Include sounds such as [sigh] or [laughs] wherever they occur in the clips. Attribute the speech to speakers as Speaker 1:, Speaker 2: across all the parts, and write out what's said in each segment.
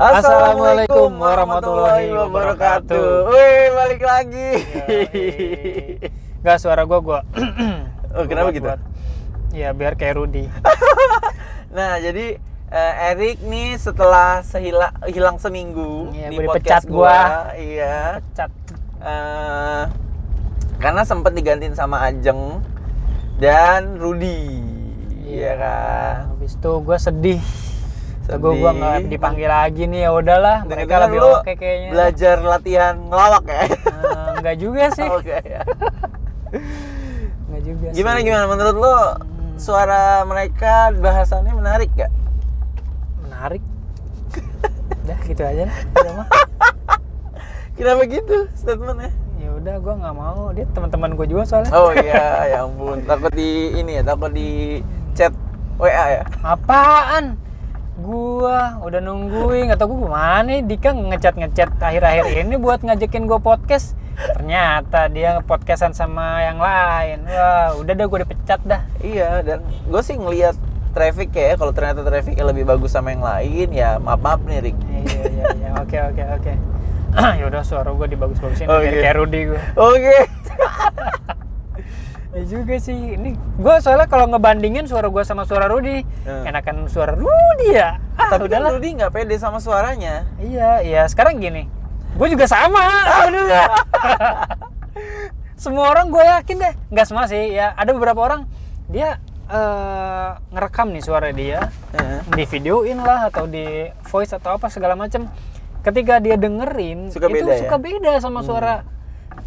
Speaker 1: Assalamualaikum warahmatullahi wabarakatuh.
Speaker 2: Wih, balik lagi.
Speaker 1: Gak Eh. suara gua gua. [clears throat]
Speaker 2: oh, kenapa gitu?
Speaker 1: Ya biar kayak Rudy.
Speaker 2: Nah, jadi eh, Erik nih setelah sehila, hilang seminggu
Speaker 1: Iya,
Speaker 2: di
Speaker 1: gua dipecat
Speaker 2: podcast gua, iya.
Speaker 1: Cat.
Speaker 2: Eh, karena sempat digantiin sama Ajeng dan Rudi. Iya kan.
Speaker 1: Nah, Habis itu gua sedih. Sedih. Gua
Speaker 2: Sedih.
Speaker 1: gua nggak dipanggil lagi nih ya udahlah. Mereka
Speaker 2: Dengar-dengar
Speaker 1: lebih
Speaker 2: lu
Speaker 1: oke kayaknya.
Speaker 2: Belajar latihan ngelawak ya.
Speaker 1: Eh, nggak juga sih.
Speaker 2: [laughs] Oke ya.
Speaker 1: Nggak juga. sih.
Speaker 2: Gimana gimana menurut lo
Speaker 1: Hmm.
Speaker 2: suara mereka bahasannya menarik gak?
Speaker 1: Menarik. Udah gitu aja
Speaker 2: [laughs]
Speaker 1: lah. Udah mah.
Speaker 2: Kenapa gitu statementnya?
Speaker 1: [laughs] Ya udah gua nggak mau. Dia teman-teman gua juga soalnya.
Speaker 2: Oh iya, ya ampun. Takut di ini ya, takut di chat WA ya.
Speaker 1: Apaan? Gua udah nungguin, nggak tahu gua kemana nih Dika ngechat ngechat akhir-akhir ini buat ngajakin gua podcast. Ternyata dia podcastan sama yang lain. Wah, udah dah gua dipecat dah.
Speaker 2: Iya, dan gue sih ngelihat traffic ya, kalau ternyata trafficnya lebih bagus sama yang lain, ya maaf-maaf nih Rick.
Speaker 1: Iya, Iya iya iya. Oke oke oke. [clears throat] ya udah suara gua dibagus-bagusin
Speaker 2: Oh,
Speaker 1: biar
Speaker 2: iya.
Speaker 1: kayak Rudy gua.
Speaker 2: Oke.
Speaker 1: [laughs] Ya juga sih. Ini gua soalnya kalau ngebandingin suara gua sama suara Rudy,
Speaker 2: Hmm.
Speaker 1: enakan suara Rudy ya. Ah,
Speaker 2: Tapi
Speaker 1: udahlah.
Speaker 2: kan Rudy nggak pede sama suaranya.
Speaker 1: Iya, iya. Sekarang gini, gue juga sama. [laughs] sebenarnya. semua orang gue yakin deh, nggak semua sih. Ya, ada beberapa orang dia eh, ngerekam nih suara dia,
Speaker 2: Heeh.
Speaker 1: di videoin lah atau di voice atau apa segala macem. Ketika dia dengerin,
Speaker 2: Suka
Speaker 1: itu
Speaker 2: beda ya? Hmm.
Speaker 1: suka beda sama suara.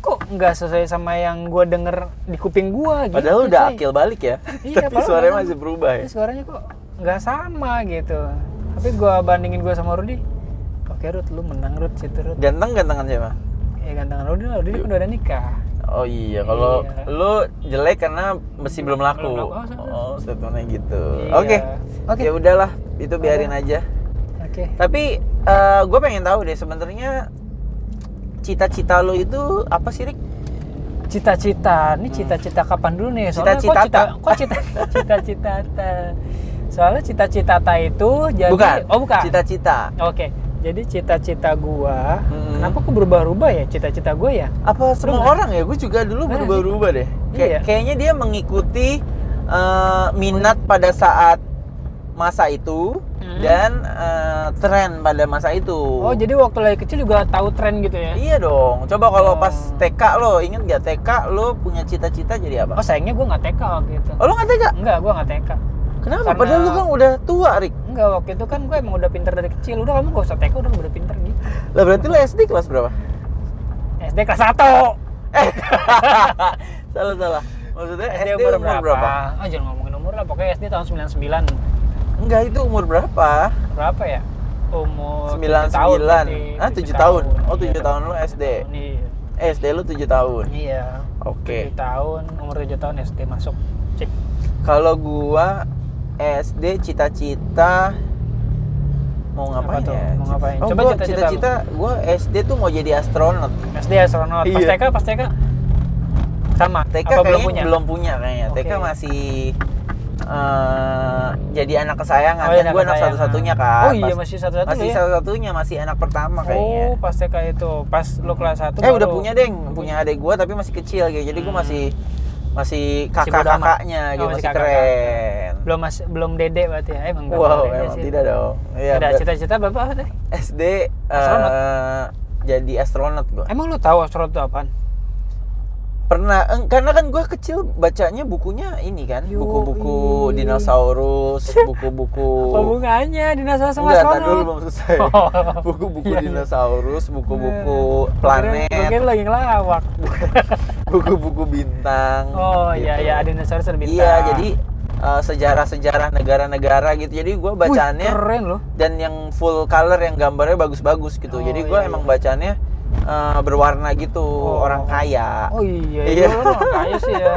Speaker 1: Kok nggak sesuai sama yang gue denger di kuping gue? Gitu,
Speaker 2: Padahal udah
Speaker 1: cuy.
Speaker 2: akil balik ya.
Speaker 1: Iya,
Speaker 2: Tapi
Speaker 1: padahal
Speaker 2: suaranya
Speaker 1: padahal.
Speaker 2: masih berubah ya.
Speaker 1: Tapi suaranya kok nggak sama gitu. Tapi gua bandingin gua sama Rudi. Oke Rud, lu menang Rud, situ Rud.
Speaker 2: Ganteng-gantengan siapa?
Speaker 1: Ya gantengan Rudi lah, Rudi kan udah ada nikah.
Speaker 2: Oh iya, kalau
Speaker 1: Iya. Hmm,
Speaker 2: lu jelek karena masih belum laku.
Speaker 1: Belum laku,
Speaker 2: Oh,
Speaker 1: oh,
Speaker 2: statementnya gitu.
Speaker 1: Iya.
Speaker 2: Oke.
Speaker 1: Oke.
Speaker 2: Ya udahlah, itu biarin aja.
Speaker 1: Oke.
Speaker 2: Tapi gue pengen tahu deh sebenarnya cita-cita lo itu apa sih, Rik?
Speaker 1: Cita-cita, ini cita-cita kapan dulu nih? Soalnya
Speaker 2: Cita-cita
Speaker 1: kok cita, kok cita, [laughs] cita-cita ta? Soalnya cita-cita ta itu jadi,
Speaker 2: bukan.
Speaker 1: oh bukan.
Speaker 2: Cita-cita.
Speaker 1: Oke, jadi cita-cita gua,
Speaker 2: Hmm.
Speaker 1: kenapa kok berubah-ubah ya cita-cita gua ya?
Speaker 2: Apa semua
Speaker 1: nggak?
Speaker 2: orang ya? Gue juga dulu
Speaker 1: Nggak
Speaker 2: berubah-ubah deh. Kayak-
Speaker 1: Iya.
Speaker 2: Kayaknya dia mengikuti eh, minat pada saat masa itu
Speaker 1: Hmm.
Speaker 2: dan eh, tren pada masa itu.
Speaker 1: Oh, jadi waktu lagi kecil juga tahu tren gitu ya?
Speaker 2: Iya dong. Coba kalau
Speaker 1: Oh.
Speaker 2: pas TK lo inget gak TK lo punya cita-cita jadi
Speaker 1: Oh,
Speaker 2: apa?
Speaker 1: sayangnya gua nggak TK waktu itu.
Speaker 2: Oh, lo nggak TK?
Speaker 1: Enggak, gua nggak TK.
Speaker 2: Kenapa?
Speaker 1: Karena-
Speaker 2: Padahal lo kan udah tua, Rik.
Speaker 1: Enggak, waktu itu kan gue emang udah pinter dari kecil. Udah kamu gak usah TK, udah udah pinter gitu.
Speaker 2: Lah berarti lo SD kelas berapa?
Speaker 1: SD kelas 1.
Speaker 2: Eh, [laughs] salah salah. Maksudnya SD, umur, berapa?
Speaker 1: Ah, jangan ngomongin umur lah. Pokoknya SD tahun 99.
Speaker 2: Enggak, itu umur berapa?
Speaker 1: Berapa ya? Umur
Speaker 2: 99.
Speaker 1: 7 tahun.
Speaker 2: Ah, 7 tahun. Oh, 7 tahun lu SD.
Speaker 1: Iya.
Speaker 2: Eh, SD lu 7 tahun.
Speaker 1: Iya.
Speaker 2: Oke.
Speaker 1: 7 tahun, umur 7 tahun SD masuk. Cik.
Speaker 2: Kalau gua SD cita-cita mau ngapain
Speaker 1: Apa tuh?
Speaker 2: ya?
Speaker 1: Mau ngapain?
Speaker 2: Oh,
Speaker 1: Coba
Speaker 2: gua
Speaker 1: cita-cita lu.
Speaker 2: cita-cita gua SD tuh mau jadi astronot.
Speaker 1: SD astronot. Pas
Speaker 2: Iya.
Speaker 1: TK, pas TK. Sama.
Speaker 2: TK
Speaker 1: Apa
Speaker 2: kayaknya
Speaker 1: belum punya?
Speaker 2: kayaknya. TK
Speaker 1: Oke.
Speaker 2: masih eh, jadi anak kesayangan.
Speaker 1: Oh,
Speaker 2: Dan
Speaker 1: iya,
Speaker 2: gua anak
Speaker 1: kesayangan.
Speaker 2: satunya kan.
Speaker 1: Oh iya,
Speaker 2: Pas-
Speaker 1: masih satu-satu
Speaker 2: masih
Speaker 1: ya.
Speaker 2: satu-satunya, masih anak pertama kayaknya.
Speaker 1: Oh, pas TK itu. Pas lu kelas 1
Speaker 2: eh udah punya deng, punya adek gua tapi masih kecil gitu. Jadi gua
Speaker 1: Hmm.
Speaker 2: masih masih
Speaker 1: bodo amat.
Speaker 2: kakak-kakaknya gitu,
Speaker 1: Oh, masih
Speaker 2: masih,
Speaker 1: kakak-kakak.
Speaker 2: keren.
Speaker 1: belum mas belum dede berarti ya emang nggak
Speaker 2: Wow,
Speaker 1: pernah dede
Speaker 2: emang
Speaker 1: sih.
Speaker 2: tidak dong. Iya.
Speaker 1: ada
Speaker 2: ber-
Speaker 1: cita-cita bapak apa tadi?
Speaker 2: SD
Speaker 1: Astronot.
Speaker 2: eh, jadi astronot gua.
Speaker 1: emang lu tahu astronot itu apaan
Speaker 2: Pernah eng- karena kan gua kecil bacanya bukunya ini kan,
Speaker 1: Yoi.
Speaker 2: buku-buku dinosaurus,
Speaker 1: [laughs]
Speaker 2: buku-buku
Speaker 1: apa hubungannya dinosaurus
Speaker 2: Oh.
Speaker 1: sama
Speaker 2: Enggak,
Speaker 1: astronot
Speaker 2: tadi dulu belum selesai.
Speaker 1: Oh.
Speaker 2: [laughs] Buku-buku
Speaker 1: Iya, iya.
Speaker 2: dinosaurus, buku-buku
Speaker 1: Kirain-
Speaker 2: planet, Hmm,
Speaker 1: kirain lagi ngelawak
Speaker 2: buku-buku bintang.
Speaker 1: oh iya
Speaker 2: gitu.
Speaker 1: iya dinosaurus ada bintang
Speaker 2: Iya, jadi uh, sejarah-sejarah negara-negara gitu. Jadi gua
Speaker 1: Wih,
Speaker 2: bacaannya
Speaker 1: keren loh
Speaker 2: dan yang full color yang gambarnya bagus-bagus gitu.
Speaker 1: Oh,
Speaker 2: jadi gua
Speaker 1: iya,
Speaker 2: emang
Speaker 1: iya.
Speaker 2: bacaannya uh, berwarna gitu,
Speaker 1: Oh.
Speaker 2: orang kaya.
Speaker 1: oh iya
Speaker 2: Iya.
Speaker 1: iya lu orang kaya sih ya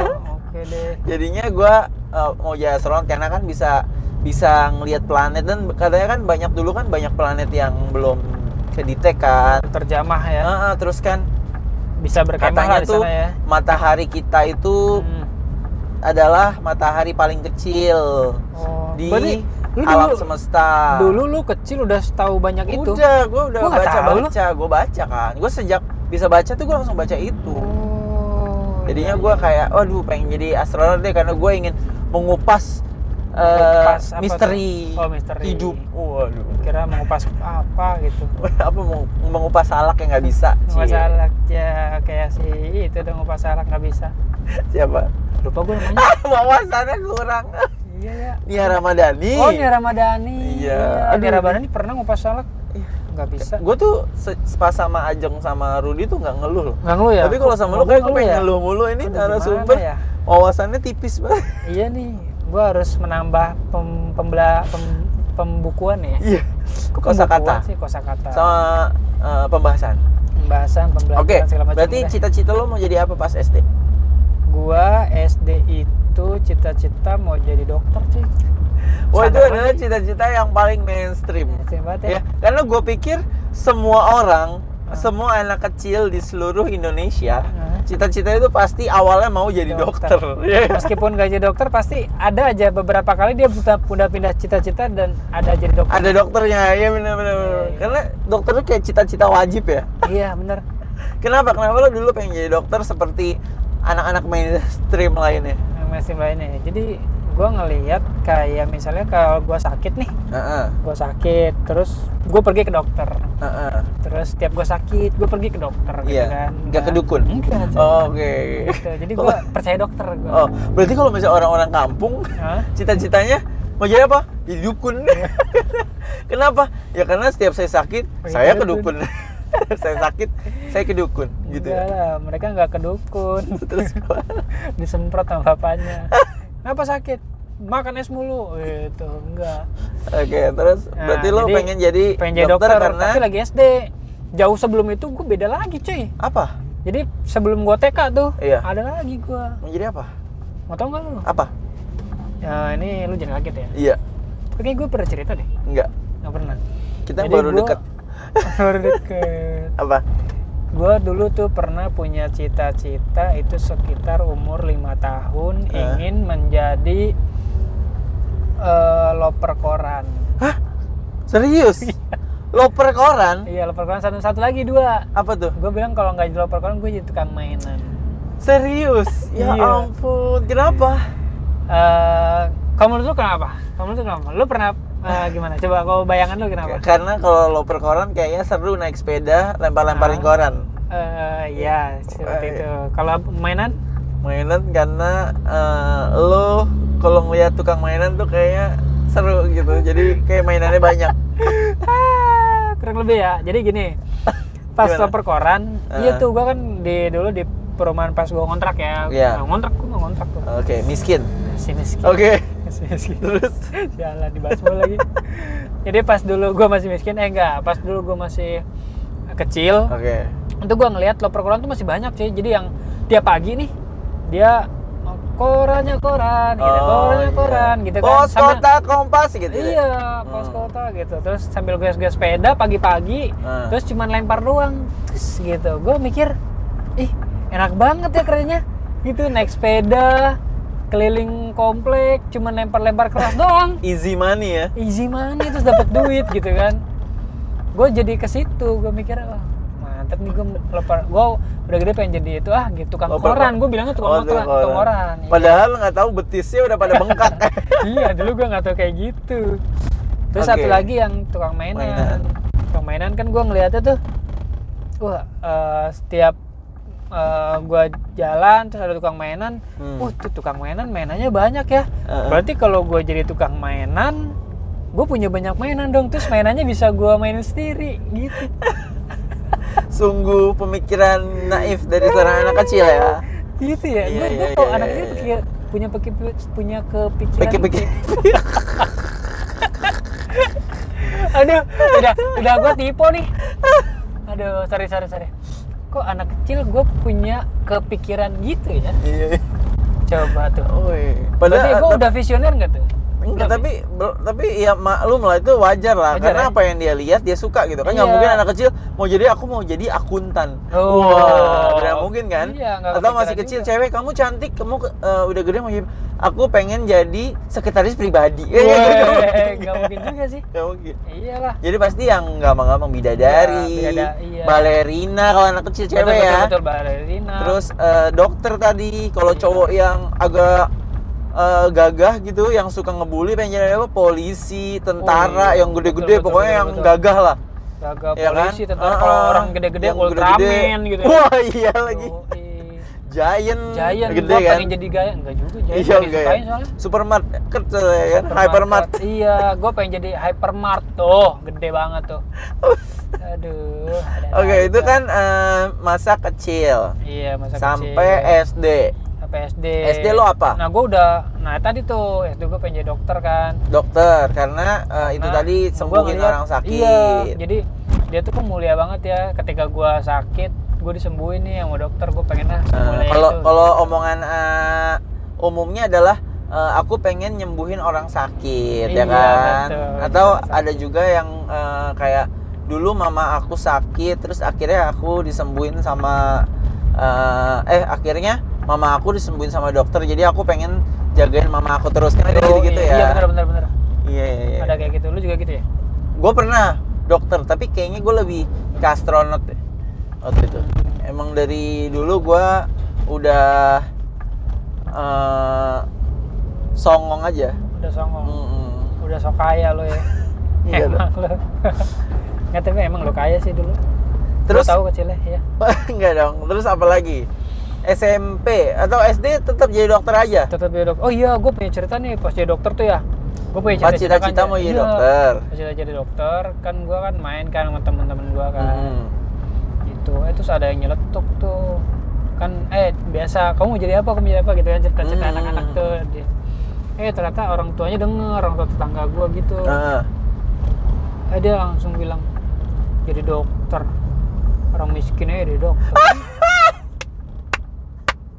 Speaker 1: oke deh
Speaker 2: Jadinya gua uh, mau jadi astronot karena kan bisa bisa ngelihat planet dan katanya kan banyak dulu kan banyak planet yang belum kedetek kan.
Speaker 1: terjamah ya
Speaker 2: Ah, ah, terus kan
Speaker 1: bisa berkemah
Speaker 2: katanya
Speaker 1: lah di
Speaker 2: tuh
Speaker 1: sana ya
Speaker 2: matahari kita itu
Speaker 1: Hmm.
Speaker 2: adalah matahari paling kecil
Speaker 1: Oh,
Speaker 2: di
Speaker 1: berarti Lu
Speaker 2: alam
Speaker 1: dulu-
Speaker 2: semesta.
Speaker 1: Dulu lu kecil udah tahu banyak itu.
Speaker 2: Udah, gue udah
Speaker 1: Gua nggak
Speaker 2: baca
Speaker 1: tahu
Speaker 2: baca, gue baca kan. Gue sejak bisa baca tuh gue langsung baca itu.
Speaker 1: Oh,
Speaker 2: Jadinya
Speaker 1: iya,
Speaker 2: gue
Speaker 1: iya.
Speaker 2: kayak, waduh pengen jadi astronot deh karena gue ingin mengupas, eh,
Speaker 1: Mengupas apa
Speaker 2: misteri,
Speaker 1: tuh? Oh, misteri.
Speaker 2: hidup. Waduh. [laughs]
Speaker 1: kira mengupas apa gitu.
Speaker 2: apa mau mengupas salak yang nggak bisa?
Speaker 1: Ngupas
Speaker 2: Cie.
Speaker 1: salak ya kayak si itu udah ngupas salak nggak bisa.
Speaker 2: [laughs] Siapa? [laughs]
Speaker 1: Lupa gue namanya.
Speaker 2: Wawasannya kurang.
Speaker 1: [laughs] iya ya.
Speaker 2: Nia Ramadhani.
Speaker 1: Oh Nia Ramadhani.
Speaker 2: Iya.
Speaker 1: Nia
Speaker 2: Aduh.
Speaker 1: Ramadhani pernah ngupas salak? Nggak bisa.
Speaker 2: Gue tuh se- pas sama Ajeng sama Rudi tuh nggak ngeluh loh.
Speaker 1: Nggak ngeluh ya.
Speaker 2: Tapi kalau sama lu kayak gue pengen ngeluh mulu ini
Speaker 1: Aduh,
Speaker 2: karena
Speaker 1: gimana
Speaker 2: sumber
Speaker 1: ya?
Speaker 2: wawasannya tipis
Speaker 1: [laughs]
Speaker 2: banget.
Speaker 1: Iya nih. Gue harus menambah pem, pembela pem- pembukuan ya.
Speaker 2: Iya.
Speaker 1: Kok
Speaker 2: Kosakata.
Speaker 1: pembukuan sih kosakata.
Speaker 2: Sama eh, pembahasan.
Speaker 1: Pembahasan, pembelajaran
Speaker 2: Oke.
Speaker 1: segala macam.
Speaker 2: Berarti
Speaker 1: udah.
Speaker 2: cita-cita lo mau jadi apa pas SD?
Speaker 1: gua SD itu cita-cita mau jadi dokter sih.
Speaker 2: Wah Oh, itu
Speaker 1: Standar
Speaker 2: adalah
Speaker 1: banget.
Speaker 2: cita-cita yang paling mainstream.
Speaker 1: Mainstream banget ya.
Speaker 2: Ya, karena gue pikir semua orang,
Speaker 1: Ah.
Speaker 2: semua anak kecil di seluruh Indonesia,
Speaker 1: Ah.
Speaker 2: cita-citanya itu pasti awalnya mau jadi
Speaker 1: Dokter.
Speaker 2: dokter. Iya.
Speaker 1: Meskipun gak jadi dokter pasti ada aja beberapa kali dia udah, udah pindah cita-cita dan ada jadi dokter.
Speaker 2: Ada dokternya, ya benar-benar.
Speaker 1: Iya, iya.
Speaker 2: Karena dokter itu kayak cita-cita wajib ya.
Speaker 1: Iya bener.
Speaker 2: Kenapa? Kenapa lo dulu pengen jadi dokter seperti anak-anak mainstream lainnya?
Speaker 1: Yang mainstream lainnya. ya. Jadi gua ngelihat kayak misalnya kalau gua sakit nih,
Speaker 2: Heeh.
Speaker 1: gua sakit terus gua pergi ke dokter.
Speaker 2: Heeh.
Speaker 1: Terus setiap gua sakit, gua pergi ke dokter gitu
Speaker 2: Iya.
Speaker 1: kan.
Speaker 2: Nggak ke dukun?
Speaker 1: Enggak.
Speaker 2: Oh, Oke.
Speaker 1: Gitu.
Speaker 2: [laughs]
Speaker 1: Jadi gua percaya dokter gua.
Speaker 2: Oh, berarti kalau misalnya orang-orang kampung
Speaker 1: Hah?
Speaker 2: cita-citanya mau jadi apa? Jadi dukun.
Speaker 1: Iya.
Speaker 2: [laughs] Kenapa? Ya karena setiap saya sakit,
Speaker 1: Pergi
Speaker 2: saya ke
Speaker 1: ke
Speaker 2: dukun. [laughs] saya sakit, saya ke dukun gitu ya.
Speaker 1: Enggak lah, mereka nggak ke dukun.
Speaker 2: [laughs] Terus gua
Speaker 1: disemprot sama bapaknya kenapa sakit makan es mulu gitu enggak
Speaker 2: Oke, terus
Speaker 1: Nah,
Speaker 2: Gitu. berarti lo
Speaker 1: jadi
Speaker 2: pengen jadi
Speaker 1: pengen jadi dokter,
Speaker 2: dokter, karena
Speaker 1: tapi lagi SD jauh sebelum itu gue beda lagi cuy
Speaker 2: apa?
Speaker 1: jadi sebelum gue TK tuh
Speaker 2: Iya.
Speaker 1: ada lagi gue
Speaker 2: Mau jadi apa?
Speaker 1: mau tau nggak lu
Speaker 2: Apa?
Speaker 1: ya, ini lu jangan kaget ya
Speaker 2: Iya,
Speaker 1: oke gue pernah cerita deh
Speaker 2: enggak.
Speaker 1: nggak pernah
Speaker 2: Kita
Speaker 1: Jadi
Speaker 2: baru
Speaker 1: gua-
Speaker 2: deket
Speaker 1: [laughs] baru deket
Speaker 2: apa?
Speaker 1: gue dulu tuh pernah punya cita-cita itu sekitar umur lima tahun
Speaker 2: Eh.
Speaker 1: ingin menjadi eh, loper koran
Speaker 2: Serius? Loper koran?
Speaker 1: Iya loper koran satu satu lagi dua.
Speaker 2: Apa tuh?
Speaker 1: Gue bilang kalau nggak jadi loper koran gue jadi tukang mainan.
Speaker 2: Serius? Ya
Speaker 1: Iya.
Speaker 2: ampun, kenapa?
Speaker 1: Eh, kamu menurut lu kenapa? Kamu menurut lu kenapa? Lu pernah eh, gimana? Coba kau bayangan lu kenapa?
Speaker 2: Karena kalau loper koran kayaknya seru naik sepeda, lempar-lemparin
Speaker 1: Ah.
Speaker 2: koran.
Speaker 1: Eh, ya seperti
Speaker 2: Eh.
Speaker 1: itu. Kalau mainan?
Speaker 2: mainan karena eh, lo kalau ngeliat tukang mainan tuh kayaknya seru gitu jadi kayak mainannya banyak
Speaker 1: Ah, kurang lebih ya. Jadi gini, pas
Speaker 2: Gimana?
Speaker 1: loper koran, iya
Speaker 2: Ah.
Speaker 1: tuh gue kan di dulu di perumahan pas gue kontrak ya.
Speaker 2: Iya.
Speaker 1: Nah, ngontrak gue nggak ngontrak tuh.
Speaker 2: oke Oh. miskin
Speaker 1: Si miskin.
Speaker 2: oke
Speaker 1: Si miskin.
Speaker 2: terus
Speaker 1: Jalan dibahas mulu
Speaker 2: [laughs]
Speaker 1: lagi. Jadi pas dulu gue masih miskin, eh enggak, pas dulu gue masih kecil,
Speaker 2: oke
Speaker 1: itu gue ngelihat loper koran tuh masih banyak sih. Jadi yang tiap pagi nih dia oh, korannya koran, gitu, korannya
Speaker 2: iya.
Speaker 1: koran, gitu kan.
Speaker 2: pos
Speaker 1: Sambil-
Speaker 2: kota kompas gitu ya?
Speaker 1: Iya, pos
Speaker 2: Hmm.
Speaker 1: kota gitu. Terus sambil gue-gue sepeda pagi-pagi,
Speaker 2: Hmm.
Speaker 1: terus cuman lempar doang, terus gitu. Gue mikir, ih enak banget ya kerjanya. Gitu naik sepeda keliling komplek, cuman lempar-lempar keras doang
Speaker 2: easy money ya
Speaker 1: easy money terus dapat duit gitu kan gue jadi ke situ gue mikir wah mantep nih gue loper gue udah gede pengen jadi itu ah gitu tukang
Speaker 2: Loper
Speaker 1: koran gue bilangnya
Speaker 2: Oh,
Speaker 1: tukang, tukang, tukang koran Iya.
Speaker 2: padahal nggak tahu betisnya udah pada
Speaker 1: [laughs]
Speaker 2: bengkak
Speaker 1: iya dulu gue nggak tahu kayak gitu terus
Speaker 2: Oke.
Speaker 1: satu lagi yang tukang mainan,
Speaker 2: Mainan.
Speaker 1: tukang mainan kan gue ngeliatnya tuh wah eh, setiap gue jalan terus ada tukang mainan
Speaker 2: Hmm.
Speaker 1: wah tuh tukang mainan mainannya banyak ya
Speaker 2: Heeh.
Speaker 1: berarti kalau gue jadi tukang mainan gue punya banyak mainan dong terus mainannya bisa gue mainin sendiri gitu
Speaker 2: sungguh pemikiran naif dari seorang anak kecil ya
Speaker 1: gitu ya
Speaker 2: Iya,
Speaker 1: gue
Speaker 2: iya,
Speaker 1: kalau
Speaker 2: iya,
Speaker 1: anak
Speaker 2: iya,
Speaker 1: kecil
Speaker 2: iya.
Speaker 1: pikir- punya peki- punya kepikiran
Speaker 2: pikir-pikir
Speaker 1: gitu. aduh udah udah gue tipu nih aduh sorry sorry sorry kok anak kecil gue punya kepikiran gitu ya
Speaker 2: [laughs] iya
Speaker 1: coba tuh
Speaker 2: oh, iya.
Speaker 1: berarti gue
Speaker 2: padahal
Speaker 1: udah visioner nggak tuh
Speaker 2: Enggak,
Speaker 1: Belum
Speaker 2: tapi bel- tapi ya maklum lah itu wajar lah
Speaker 1: Wajar,
Speaker 2: karena
Speaker 1: ya?
Speaker 2: apa yang dia lihat dia suka gitu kan nggak
Speaker 1: Iya.
Speaker 2: mungkin anak kecil mau jadi aku mau jadi akuntan
Speaker 1: Oh.
Speaker 2: wah tidak mungkin kan
Speaker 1: Iya, nggak
Speaker 2: atau
Speaker 1: kepikiran
Speaker 2: masih kecil
Speaker 1: juga.
Speaker 2: cewek kamu cantik kamu ke- eh, udah gede mau jadi aku pengen jadi sekretaris pribadi [laughs] Eh,
Speaker 1: Weh,
Speaker 2: gitu.
Speaker 1: nggak mungkin juga sih
Speaker 2: Nggak mungkin
Speaker 1: iyalah
Speaker 2: jadi pasti yang gampang-gampang bidadari,
Speaker 1: Iya, bidada- iya.
Speaker 2: balerina kalau anak kecil cewek
Speaker 1: betul,
Speaker 2: ya.
Speaker 1: betul, betul, balerina
Speaker 2: Terus eh, dokter tadi kalau cowok yang agak eh, gagah gitu yang suka ngebully pengen jadi apa? Polisi, tentara
Speaker 1: Oh, iya.
Speaker 2: yang gede-gede
Speaker 1: Betul, betul,
Speaker 2: pokoknya
Speaker 1: betul,
Speaker 2: yang
Speaker 1: betul.
Speaker 2: gagah lah.
Speaker 1: Jaga
Speaker 2: ya kan?
Speaker 1: polisi tentara
Speaker 2: Eh,
Speaker 1: kalau
Speaker 2: eh,
Speaker 1: orang gede-gede
Speaker 2: yang
Speaker 1: Ultraman
Speaker 2: gede-gede.
Speaker 1: gitu.
Speaker 2: Wah, iya lagi.
Speaker 1: Yoi.
Speaker 2: Giant,
Speaker 1: Giant,
Speaker 2: gede
Speaker 1: gua
Speaker 2: kan.
Speaker 1: pengen jadi gaya enggak juga Giant
Speaker 2: Iya,
Speaker 1: iya,
Speaker 2: enggak
Speaker 1: disukain
Speaker 2: ya.
Speaker 1: soalnya.
Speaker 2: Supermarket eh, ya, hypermart.
Speaker 1: Iya, gua pengen jadi hypermart tuh, gede banget
Speaker 2: [laughs]
Speaker 1: tuh. Aduh. ada
Speaker 2: Oke,
Speaker 1: lagi
Speaker 2: itu
Speaker 1: dah.
Speaker 2: kan eh, masa kecil
Speaker 1: Iya, masa kecil.
Speaker 2: sampai SD.
Speaker 1: Sampai SD.
Speaker 2: SD lo apa?
Speaker 1: Nah, gua udah nah tadi tuh SD gua pengen jadi dokter kan.
Speaker 2: Dokter karena eh, itu
Speaker 1: Nah,
Speaker 2: tadi
Speaker 1: gua
Speaker 2: sembuhin
Speaker 1: ngeliat-
Speaker 2: orang sakit.
Speaker 1: Iya, jadi dia tuh pemulia banget ya. Ketika gua sakit, gua disembuhin nih sama dokter. Gua pengen lah
Speaker 2: Eh,
Speaker 1: mulai
Speaker 2: kalau
Speaker 1: itu.
Speaker 2: kalau omongan eh, umumnya adalah eh, aku pengen nyembuhin orang sakit ya
Speaker 1: Iya,
Speaker 2: kan
Speaker 1: betul.
Speaker 2: atau
Speaker 1: Sakit.
Speaker 2: ada juga yang eh, kayak dulu mama aku sakit terus akhirnya aku disembuhin sama eh, eh akhirnya mama aku disembuhin sama dokter jadi aku pengen jagain mama aku terus kan ada
Speaker 1: Oh,
Speaker 2: gitu gitu ya
Speaker 1: iya, Iya, benar benar benar.
Speaker 2: iya iya iya
Speaker 1: Ada kayak gitu. Lu juga gitu ya?
Speaker 2: gue pernah dokter tapi kayaknya gue lebih ke astronot deh waktu itu emang dari dulu gue udah eh, songong aja
Speaker 1: Udah songong.
Speaker 2: Mm-mm.
Speaker 1: Udah sok kaya lo ya.
Speaker 2: [laughs] Iya,
Speaker 1: emang lo. [laughs] Nggak tapi emang lo kaya sih dulu.
Speaker 2: terus
Speaker 1: Gua tahu kecilnya ya.
Speaker 2: [laughs] enggak dong terus apa lagi SMP atau SD tetap jadi dokter aja
Speaker 1: Tetap jadi dokter. Oh iya, gue punya cerita nih pas jadi dokter tuh ya. Gue punya
Speaker 2: Pas
Speaker 1: cerita.
Speaker 2: cita-cita mau jadi
Speaker 1: iya.
Speaker 2: dokter
Speaker 1: Pas cita jadi dokter, kan gue kan main kan sama temen-temen gue kan.
Speaker 2: Mm.
Speaker 1: Gitu. Eh terus ada yang nyeletuk tuh kan eh biasa kamu mau jadi apa kamu jadi apa gitu kan cerita-cerita
Speaker 2: Hmm.
Speaker 1: anak-anak tuh Dia- eh ternyata orang tuanya denger orang tua tetangga gue gitu
Speaker 2: Heeh.
Speaker 1: Eh, dia langsung bilang jadi dokter. Orang miskin aja
Speaker 2: [laughs]
Speaker 1: jadi dokter.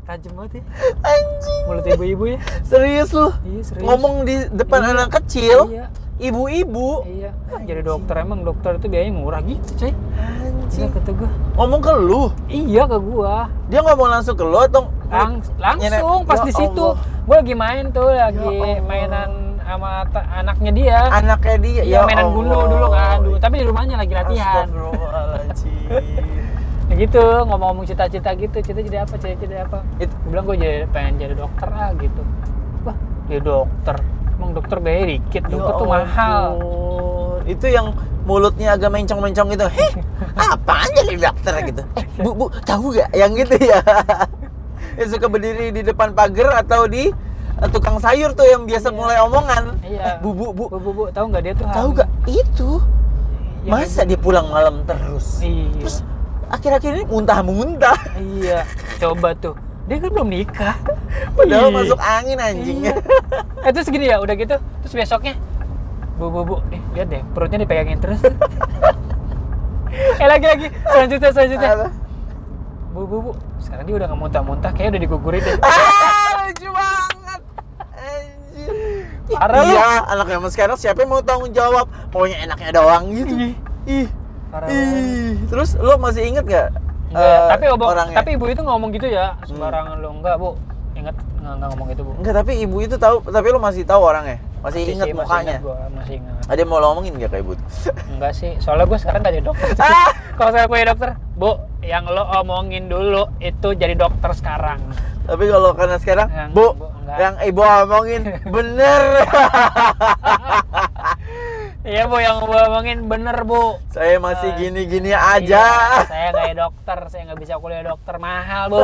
Speaker 1: Tajam banget ya
Speaker 2: anjing
Speaker 1: mulut ibu-ibu ya.
Speaker 2: serius lu
Speaker 1: Iya serius.
Speaker 2: ngomong di depan
Speaker 1: Iya.
Speaker 2: anak kecil
Speaker 1: Iya.
Speaker 2: ibu-ibu
Speaker 1: Iya. Jadi dokter emang dokter itu biayanya murah gitu coy. Iya
Speaker 2: anjing
Speaker 1: kata gua.
Speaker 2: ngomong ke lu
Speaker 1: Iya ke gua.
Speaker 2: dia ngomong langsung ke lo atau
Speaker 1: Lang- langsung
Speaker 2: Nyenek.
Speaker 1: pas
Speaker 2: Ya
Speaker 1: di situ
Speaker 2: Allah. Ya
Speaker 1: gua lagi main tuh lagi
Speaker 2: Allah.
Speaker 1: mainan sama ta- anaknya dia.
Speaker 2: anaknya dia Ya
Speaker 1: Iya mainan gulu dulu kan dulu. Tapi di rumahnya lagi latihan.
Speaker 2: Astagfirullahaladzim
Speaker 1: Nah, gitu ngomong-ngomong cita-cita gitu cita jadi apa cita jadi apa
Speaker 2: Itu-
Speaker 1: gue bilang gue jadi pengen jadi dokter ah gitu wah jadi dokter emang dokter biaya dikit dokter tuh mahal
Speaker 2: Ya ampun. itu yang mulutnya agak mencong-mencong gitu
Speaker 1: [laughs]
Speaker 2: heh apaan jadi dokter gitu eh bu bu tahu gak yang gitu ya [laughs] yang suka berdiri di depan pagar atau di eh, tukang sayur tuh yang biasa mulai omongan eh,
Speaker 1: Iya.
Speaker 2: bu bu bu
Speaker 1: bu bu bu tahu nggak dia tuh
Speaker 2: tahu
Speaker 1: hamil.
Speaker 2: gak itu
Speaker 1: Iya,
Speaker 2: masa dia pulang malam terus
Speaker 1: iya
Speaker 2: terus akhir-akhir ini muntah-muntah [laughs]
Speaker 1: iya coba tuh dia kan belum nikah
Speaker 2: Padahal
Speaker 1: Ih.
Speaker 2: masuk angin [laughs] anjingnya.
Speaker 1: Iya. eh terus gini ya udah gitu terus besoknya bu bu bu eh, lihat deh perutnya dipegangin terus [laughs] eh lagi lagi selanjutnya selanjutnya
Speaker 2: Apa?
Speaker 1: bu bu bu sekarang dia udah nggak muntah-muntah kayaknya udah digugurin deh
Speaker 2: ah, lucu banget. Anjir.
Speaker 1: Parah lu.
Speaker 2: iya, anak zaman sekarang siapa yang mau tanggung jawab? Maunya enaknya doang gitu.
Speaker 1: Ih.
Speaker 2: Ih.
Speaker 1: Iya. Parah banget.
Speaker 2: Ih. Terus lo masih inget gak?
Speaker 1: Enggak,
Speaker 2: eh,
Speaker 1: tapi obok-
Speaker 2: orangnya? Hmm.
Speaker 1: tapi ibu itu ngomong gitu ya sembarangan lo enggak bu ingat enggak, enggak ngomong gitu bu
Speaker 2: Enggak, tapi ibu itu tahu, tapi lo masih tahu orangnya. Masih,
Speaker 1: Masih
Speaker 2: inget
Speaker 1: sih, masih
Speaker 2: mukanya.
Speaker 1: ingat gua, masih ingat
Speaker 2: Ada yang mau lo omongin gak kayak ibu?
Speaker 1: [laughs] enggak sih soalnya gue sekarang gak jadi dokter [laughs]
Speaker 2: Ah.
Speaker 1: kalau saya punya dokter bu yang lo omongin dulu itu jadi dokter
Speaker 2: [laughs]
Speaker 1: sekarang
Speaker 2: Tapi kalau karena sekarang,
Speaker 1: Yang- Eh,
Speaker 2: Bu,
Speaker 1: Bu, enggak.
Speaker 2: yang ibu
Speaker 1: [laughs]
Speaker 2: omongin bener.
Speaker 1: iya bu yang gue omongin bener bu
Speaker 2: Saya masih gini-gini
Speaker 1: eh, Iya,
Speaker 2: aja.
Speaker 1: saya kayak dokter saya nggak bisa kuliah dokter mahal
Speaker 2: [laughs]
Speaker 1: bu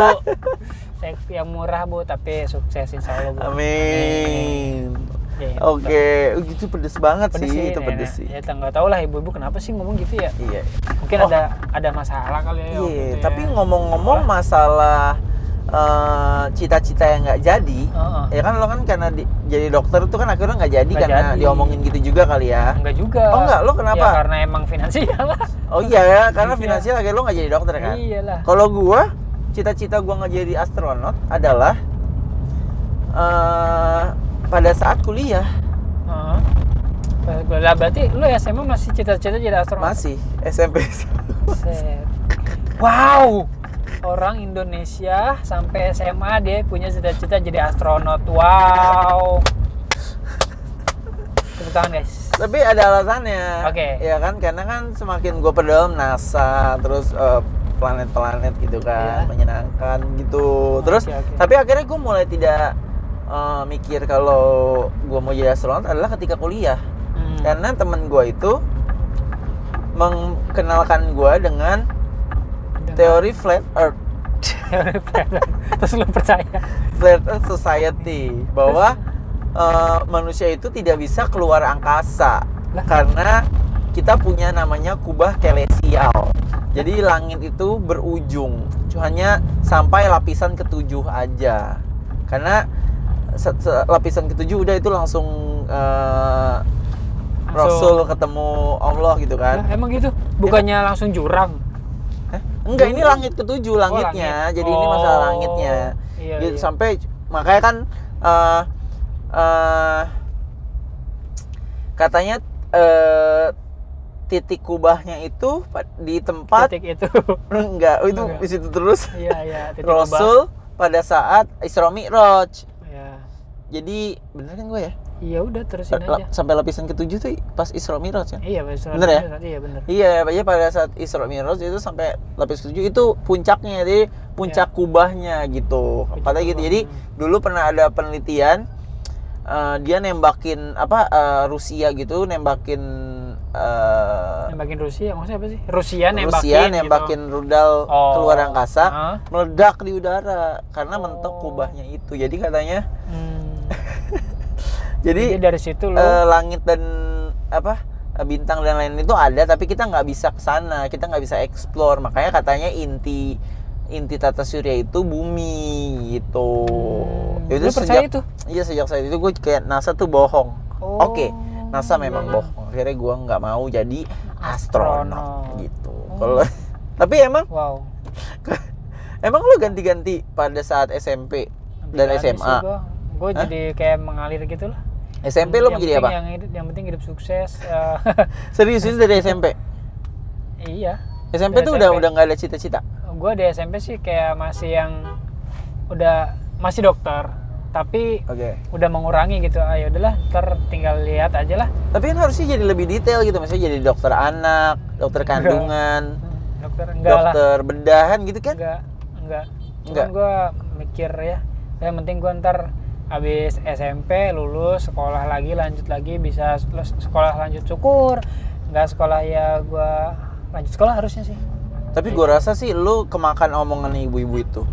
Speaker 1: saya yang murah bu tapi sukses insya Allah bu
Speaker 2: Amin.
Speaker 1: Iya, iya.
Speaker 2: Oke, oh, gitu pedes banget sih,
Speaker 1: pedes sih
Speaker 2: itu
Speaker 1: nenek.
Speaker 2: pedes sih.
Speaker 1: ya nggak tahu lah ibu-ibu kenapa sih ngomong gitu ya
Speaker 2: Iya.
Speaker 1: mungkin
Speaker 2: Oh.
Speaker 1: ada ada masalah kali ya waktu
Speaker 2: Iya,
Speaker 1: itu
Speaker 2: tapi
Speaker 1: ya.
Speaker 2: ngomong-ngomong masalah eh, cita-cita yang nggak jadi,
Speaker 1: Heeh.
Speaker 2: ya kan lo kan karena di- jadi dokter tuh kan akhirnya nggak jadi
Speaker 1: Oh. Nggak
Speaker 2: karena
Speaker 1: jadi.
Speaker 2: diomongin gitu juga kali ya.
Speaker 1: enggak juga
Speaker 2: Oh, enggak? Lo kenapa?
Speaker 1: ya, karena emang finansial
Speaker 2: [laughs]
Speaker 1: lah
Speaker 2: Oh iya ya, karena
Speaker 1: Iya.
Speaker 2: finansial akhirnya lo nggak jadi dokter kan.
Speaker 1: iyalah
Speaker 2: Kalau gua, cita-cita gua nggak jadi astronot adalah eh pada saat kuliah
Speaker 1: Pas gua- Lah berarti lu SMA masih cita-cita jadi astronot?
Speaker 2: Masih [laughs] SMP.
Speaker 1: Set. Wow. Orang Indonesia sampai SMA dia punya cita-cita jadi astronot. Wow. Tepuk tangan guys.
Speaker 2: Tapi ada alasannya.
Speaker 1: Oke.
Speaker 2: Ya kan karena kan semakin gue perdalam NASA terus eh, planet-planet gitu kan
Speaker 1: Iya. Oh,
Speaker 2: menyenangkan gitu. Terus
Speaker 1: Oke, oke.
Speaker 2: tapi akhirnya gue mulai tidak eh, mikir kalau gue mau jadi astronot adalah ketika kuliah.
Speaker 1: Hmm.
Speaker 2: Karena temen gue itu mengkenalkan gue dengan teori flat earth.
Speaker 1: Teori [laughs] Plato. Terus lu percaya?
Speaker 2: Flat Earth Society bahwa eh, manusia itu tidak bisa keluar angkasa
Speaker 1: Lah.
Speaker 2: karena kita punya namanya kubah kelesial. Jadi langit itu berujung, hanya sampai lapisan ketujuh aja. Karena se- se- lapisan ketujuh udah itu langsung eh, Rasul ketemu Allah gitu
Speaker 1: Lah,
Speaker 2: kan.
Speaker 1: emang gitu? Bukannya langsung jurang?
Speaker 2: Hah? Enggak, ini langit ketujuh langitnya. Jadi ini masalah
Speaker 1: Oh,
Speaker 2: langitnya.
Speaker 1: Iya,
Speaker 2: Gitu,
Speaker 1: iya.
Speaker 2: sampai makanya kan eh, eh, katanya eh, titik kubahnya itu pa- di tempat
Speaker 1: titik itu. [laughs]
Speaker 2: enggak itu
Speaker 1: Enggak.
Speaker 2: di situ terus
Speaker 1: Iya, iya, titik kubah.
Speaker 2: Rasul pada saat Isra Mi'raj
Speaker 1: Iya.
Speaker 2: jadi bener kan gue ya
Speaker 1: Iya udah terusin
Speaker 2: La-
Speaker 1: aja.
Speaker 2: sampai lapisan ketujuh tuh pas Isra Mi'raj kan
Speaker 1: Iya, bener,
Speaker 2: Bener ya?
Speaker 1: Iya, bener.
Speaker 2: Iya, ya pada saat Isra Mi'raj itu sampai lapis ketujuh itu puncaknya, jadi puncak kubahnya gitu.
Speaker 1: Iya. Puncak
Speaker 2: Katanya gitu.
Speaker 1: kubah,
Speaker 2: Jadi
Speaker 1: hmm.
Speaker 2: dulu pernah ada penelitian eh, dia nembakin apa eh, Rusia gitu, nembakin eh,
Speaker 1: Nembakin Rusia, maksudnya apa sih? Rusia nembakin.
Speaker 2: Rusia
Speaker 1: gitu.
Speaker 2: nembakin rudal
Speaker 1: Oh.
Speaker 2: keluar angkasa,
Speaker 1: Hah?
Speaker 2: meledak di udara karena mentok
Speaker 1: Oh.
Speaker 2: kubahnya itu. Jadi katanya,
Speaker 1: Hmm. Jadi
Speaker 2: jadi
Speaker 1: dari situ lu
Speaker 2: eh, langit dan apa eh, bintang dan lain itu ada tapi kita nggak bisa ke sana kita nggak bisa explore makanya katanya inti inti tata surya itu bumi gitu
Speaker 1: Hmm.
Speaker 2: Yaudah,
Speaker 1: Lu percaya itu?
Speaker 2: iya sejak saat itu gue kayak NASA tuh bohong
Speaker 1: Oh,
Speaker 2: oke NASA
Speaker 1: iya,
Speaker 2: memang
Speaker 1: iya.
Speaker 2: bohong akhirnya gue nggak mau jadi astronot,
Speaker 1: Astronot.
Speaker 2: gitu
Speaker 1: Oh.
Speaker 2: kalau [laughs] tapi emang
Speaker 1: wow.
Speaker 2: emang lu ganti-ganti pada saat SMP dan
Speaker 1: kan,
Speaker 2: SMA
Speaker 1: Gue
Speaker 2: Hah?
Speaker 1: jadi kayak mengalir gitu lah.
Speaker 2: SMP lu
Speaker 1: Yang
Speaker 2: mau jadi
Speaker 1: penting
Speaker 2: apa
Speaker 1: Yang, hidup- yang penting hidup sukses. eh, [laughs]
Speaker 2: serius itu dari SMP
Speaker 1: iya.
Speaker 2: SMP
Speaker 1: Dari
Speaker 2: tuh udah
Speaker 1: SMP.
Speaker 2: udah nggak ada cita-cita
Speaker 1: Gue di SMP sih kayak masih yang udah masih dokter, tapi
Speaker 2: oke
Speaker 1: udah mengurangi gitu. Ayo udahlah, ntar tinggal lihat aja lah.
Speaker 2: Tapi kan harusnya jadi lebih detail gitu, misalnya jadi dokter anak, dokter kandungan,
Speaker 1: Dokter enggak lah.
Speaker 2: dokter bedahan gitu kan?
Speaker 1: Enggak, enggak.
Speaker 2: Enggak.
Speaker 1: Cuman gue mikir ya, yang penting gue ntar habis SMP lulus sekolah lagi lanjut lagi bisa lulus sekolah lanjut syukur nggak sekolah ya gue lanjut sekolah harusnya sih
Speaker 2: Tapi gue rasa sih lu kemakan omongan ibu-ibu itu.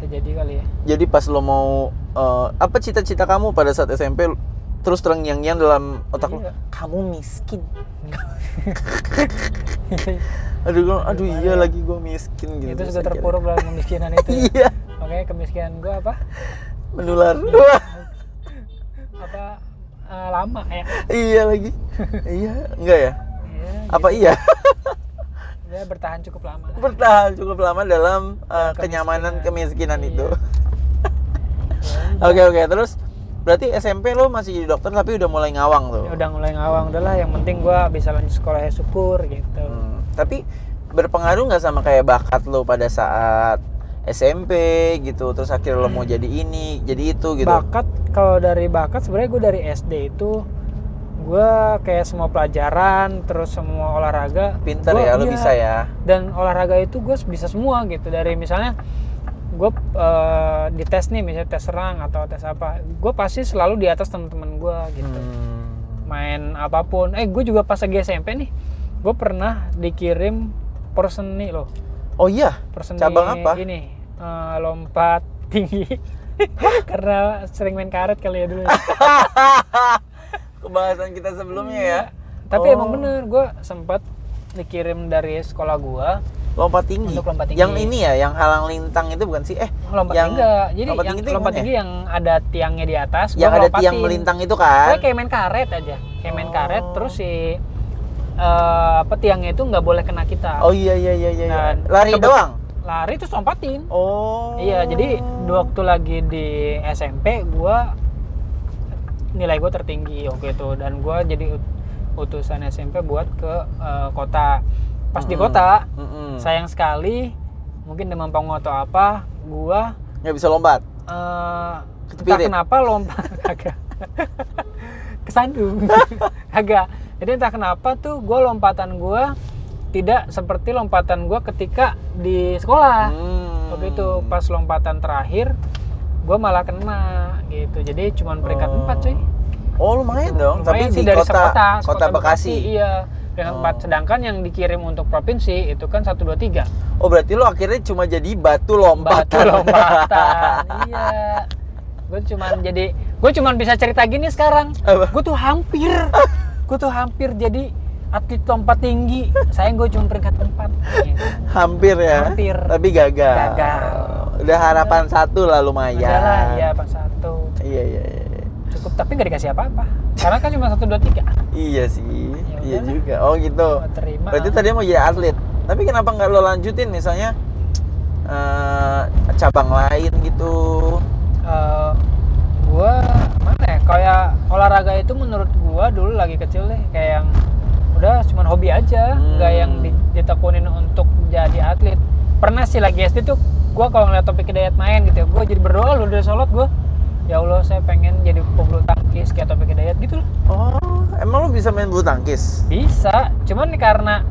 Speaker 1: saya jadi kali ya
Speaker 2: Jadi pas lo mau eh, apa cita-cita kamu pada saat SMP lu- terus terngiang-ngiang dalam otak lo,
Speaker 1: Iya.
Speaker 2: kamu
Speaker 1: [laughs]
Speaker 2: miskin. Aduh, gua- aduh
Speaker 1: Gimana
Speaker 2: iya
Speaker 1: ya?
Speaker 2: lagi gue miskin gitu.
Speaker 1: itu
Speaker 2: terus
Speaker 1: sudah
Speaker 2: akhirnya.
Speaker 1: terpuruk
Speaker 2: [laughs]
Speaker 1: dalam kemiskinan itu ya.
Speaker 2: Iya,
Speaker 1: makanya kemiskinan gue apa [laughs]
Speaker 2: menular. Wah,
Speaker 1: apa eh, lama ya
Speaker 2: iya lagi. iya, enggak ya?
Speaker 1: ya,
Speaker 2: Apa iya?
Speaker 1: gitu. Ya, bertahan cukup lama lah.
Speaker 2: Bertahan cukup lama dalam eh, kenyamanan
Speaker 1: Kemiskinan.
Speaker 2: kemiskinan itu.
Speaker 1: Iya.
Speaker 2: [laughs]
Speaker 1: Ya,
Speaker 2: Oke oke terus berarti SMP lo masih jadi dokter tapi udah mulai ngawang tuh.
Speaker 1: udah mulai ngawang udahlah yang penting gue bisa lanjut sekolah ya syukur gitu
Speaker 2: Hmm, tapi berpengaruh nggak sama kayak bakat lo pada saat SMP gitu terus akhirnya lo mau jadi ini jadi itu gitu.
Speaker 1: bakat kalau dari bakat sebenarnya gue dari SD itu gue kayak semua pelajaran terus semua olahraga
Speaker 2: Pinter ya
Speaker 1: gua-
Speaker 2: lo
Speaker 1: iya.
Speaker 2: bisa ya.
Speaker 1: dan olahraga itu gue bisa semua gitu dari misalnya gue di tes nih misalnya tes serang atau tes apa gue pasti selalu di atas teman-teman gue gitu
Speaker 2: Hmm.
Speaker 1: main apapun eh gue juga pas lagi SMP nih gue pernah dikirim perseni loh
Speaker 2: Oh iya
Speaker 1: perseni
Speaker 2: Cabang apa?
Speaker 1: ini eh, lompat tinggi [laughs] karena sering main karet kali ya dulu ya.
Speaker 2: Ah, kebahasan kita sebelumnya ya
Speaker 1: tapi
Speaker 2: Oh.
Speaker 1: emang bener gue sempat dikirim dari sekolah gue
Speaker 2: lompat tinggi.
Speaker 1: Untuk lompat tinggi.
Speaker 2: Yang ini ya yang halang lintang itu bukan sih eh
Speaker 1: lompat
Speaker 2: Yang-
Speaker 1: enggak jadi
Speaker 2: lompat
Speaker 1: yang
Speaker 2: tinggi itu yang
Speaker 1: lompat
Speaker 2: mana ya?
Speaker 1: tinggi yang ada tiangnya di atas gua
Speaker 2: yang ada
Speaker 1: ngelompatin.
Speaker 2: tiang melintang itu
Speaker 1: Gua
Speaker 2: kan.
Speaker 1: kayak main karet aja kayak main karet
Speaker 2: Oh.
Speaker 1: terus si eh, apa tiangnya itu nggak boleh kena kita
Speaker 2: Oh iya iya iya iya. iya.
Speaker 1: Nah,
Speaker 2: Lari
Speaker 1: kebet-
Speaker 2: doang.
Speaker 1: lari terus lompatin
Speaker 2: Oh.
Speaker 1: Iya, jadi waktu lagi di SMP gua nilai gue tertinggi waktu itu dan gue jadi ut- utusan SMP buat ke eh, kota pas di
Speaker 2: Mm-mm.
Speaker 1: kota
Speaker 2: Mm-mm.
Speaker 1: sayang sekali mungkin demam panggung atau apa gue
Speaker 2: nggak bisa lompat
Speaker 1: eh entah
Speaker 2: Ketepirit.
Speaker 1: kenapa lompat [laughs] agak kesandung [laughs] agak jadi entah kenapa tuh gue lompatan gue tidak seperti lompatan gue ketika di sekolah
Speaker 2: Hmm.
Speaker 1: Ah. waktu itu pas lompatan terakhir gue malah kena gitu jadi cuman peringkat
Speaker 2: Oh.
Speaker 1: empat cuy
Speaker 2: oh lumayan dong tapi
Speaker 1: Lumayan sih
Speaker 2: di
Speaker 1: dari
Speaker 2: kota
Speaker 1: sekota,
Speaker 2: kota,
Speaker 1: sekota
Speaker 2: Bekasi.
Speaker 1: iya peringkat
Speaker 2: Oh.
Speaker 1: empat sedangkan yang dikirim untuk provinsi itu kan satu dua tiga
Speaker 2: oh berarti lo akhirnya cuma jadi batu lompatan
Speaker 1: batu lompatan iya gue cuman jadi gue cuman bisa cerita gini sekarang
Speaker 2: Apa?
Speaker 1: gue tuh hampir gue tuh hampir jadi atlet lompat tinggi sayang gue cuma peringkat empat gitu.
Speaker 2: [laughs] hampir ya
Speaker 1: Hampir.
Speaker 2: tapi gagal
Speaker 1: Gagal.
Speaker 2: udah harapan satu lah
Speaker 1: masalah
Speaker 2: lumayan
Speaker 1: ya pas satu
Speaker 2: iya iya iya
Speaker 1: cukup tapi nggak dikasih apa-apa karena kan cuma satu dua tiga
Speaker 2: Iya sih iya
Speaker 1: Ya udah lah.
Speaker 2: juga oh gitu
Speaker 1: Gua terima kan.
Speaker 2: berarti tadi mau jadi atlet tapi kenapa nggak lo lanjutin misalnya eh, cabang lain gitu
Speaker 1: Eh, gua mana ya kayak olahraga itu menurut gua dulu lagi kecil deh kayak yang udah cuman hobi aja nggak
Speaker 2: Hmm.
Speaker 1: yang di- ditekunin untuk jadi atlet pernah sih lagi SD tuh gua kalau ngeliat topik hidayat main gitu ya gua jadi berdoa loh udah sholat gua ya Allah saya pengen jadi pebulu tangkis kayak topik hidayat gitu loh
Speaker 2: oh emang lo bisa main bulu tangkis
Speaker 1: bisa cuman karena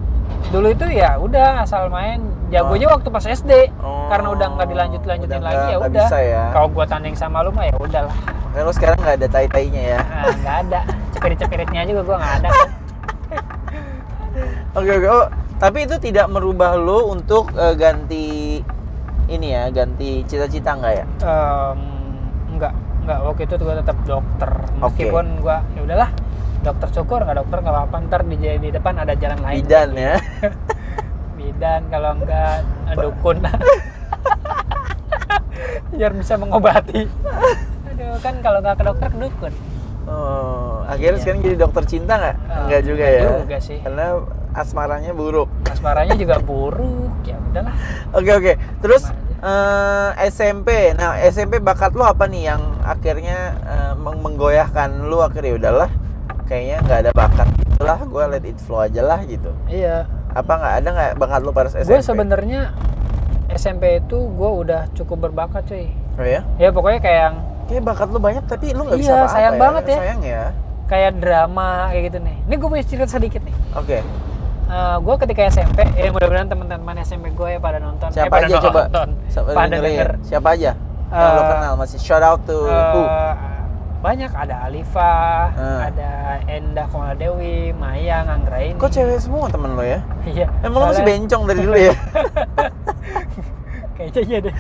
Speaker 1: dulu itu ya udah asal main jagonya waktu pas SD
Speaker 2: Oh.
Speaker 1: karena udah nggak dilanjut lanjutin
Speaker 2: Udah
Speaker 1: lagi
Speaker 2: nggak-
Speaker 1: ya
Speaker 2: nggak
Speaker 1: udah
Speaker 2: bisa ya.
Speaker 1: kalau gua tanding sama lu mah ya udahlah
Speaker 2: makanya lo sekarang nggak ada tai tainya ya
Speaker 1: Nah, nggak ada. Cepirit-cepiritnya juga gua nggak ada.
Speaker 2: oke oke Oh, tapi itu tidak merubah lo untuk eh, ganti ini ya ganti cita-cita nggak ya
Speaker 1: Em, nggak, nggak. Waktu itu gua tetap dokter. Meskipun gua ya udahlah, dokter syukur nggak dokter nggak apa-apa ntar di, di depan ada jalan lain.
Speaker 2: bidan ya
Speaker 1: Bidan kalau
Speaker 2: [laughs]
Speaker 1: nggak eh, dukun. [laughs] Biar bisa mengobati. Aduh, kan kalau nggak ke dokter ke dukun.
Speaker 2: Oh, akhirnya
Speaker 1: Iya.
Speaker 2: sekarang jadi dokter cinta nggak?
Speaker 1: Eh,
Speaker 2: Nggak juga
Speaker 1: nggak
Speaker 2: ya.
Speaker 1: juga sih.
Speaker 2: Karena asmaranya buruk.
Speaker 1: Asmaranya juga buruk. Ya udahlah.
Speaker 2: Oke oke. Terus eh, SMP. Nah SMP bakat lu apa nih yang akhirnya eh, meng- menggoyahkan lu akhirnya ya udahlah. Kayaknya nggak ada bakat itulah. Gue let it flow aja lah gitu.
Speaker 1: Iya,
Speaker 2: Apa nggak ada nggak bakat lu pada SMP?
Speaker 1: gue sebenarnya SMP itu gue udah cukup berbakat cuy.
Speaker 2: Oh, ya?
Speaker 1: Ya pokoknya kayak yang
Speaker 2: Kayak bakat lu banyak tapi lu nggak bisa
Speaker 1: Iya,
Speaker 2: apa-apa.
Speaker 1: sayang banget ya.
Speaker 2: Sayang ya.
Speaker 1: kayak drama kayak gitu nih. Ini gue punya cerita sedikit nih.
Speaker 2: Oke.
Speaker 1: gue ketika SMP, ya mudah-mudahan teman-teman SMP gue ya pada nonton.
Speaker 2: Siapa
Speaker 1: eh, pada
Speaker 2: aja coba?
Speaker 1: nonton.
Speaker 2: Siapa
Speaker 1: pada
Speaker 2: dengerin?
Speaker 1: denger.
Speaker 2: Siapa aja? yang lo
Speaker 1: Eh,
Speaker 2: kenal masih shout out to who?
Speaker 1: Eh, banyak ada Alifa,
Speaker 2: Hmm.
Speaker 1: ada Endah Dewi, Maya, Anggraini.
Speaker 2: Kok cewek semua temen lo ya?
Speaker 1: Iya.
Speaker 2: Emang lo masih
Speaker 1: soalnya-
Speaker 2: bencong dari dulu
Speaker 1: [laughs]
Speaker 2: ya?
Speaker 1: Kayaknya iya deh.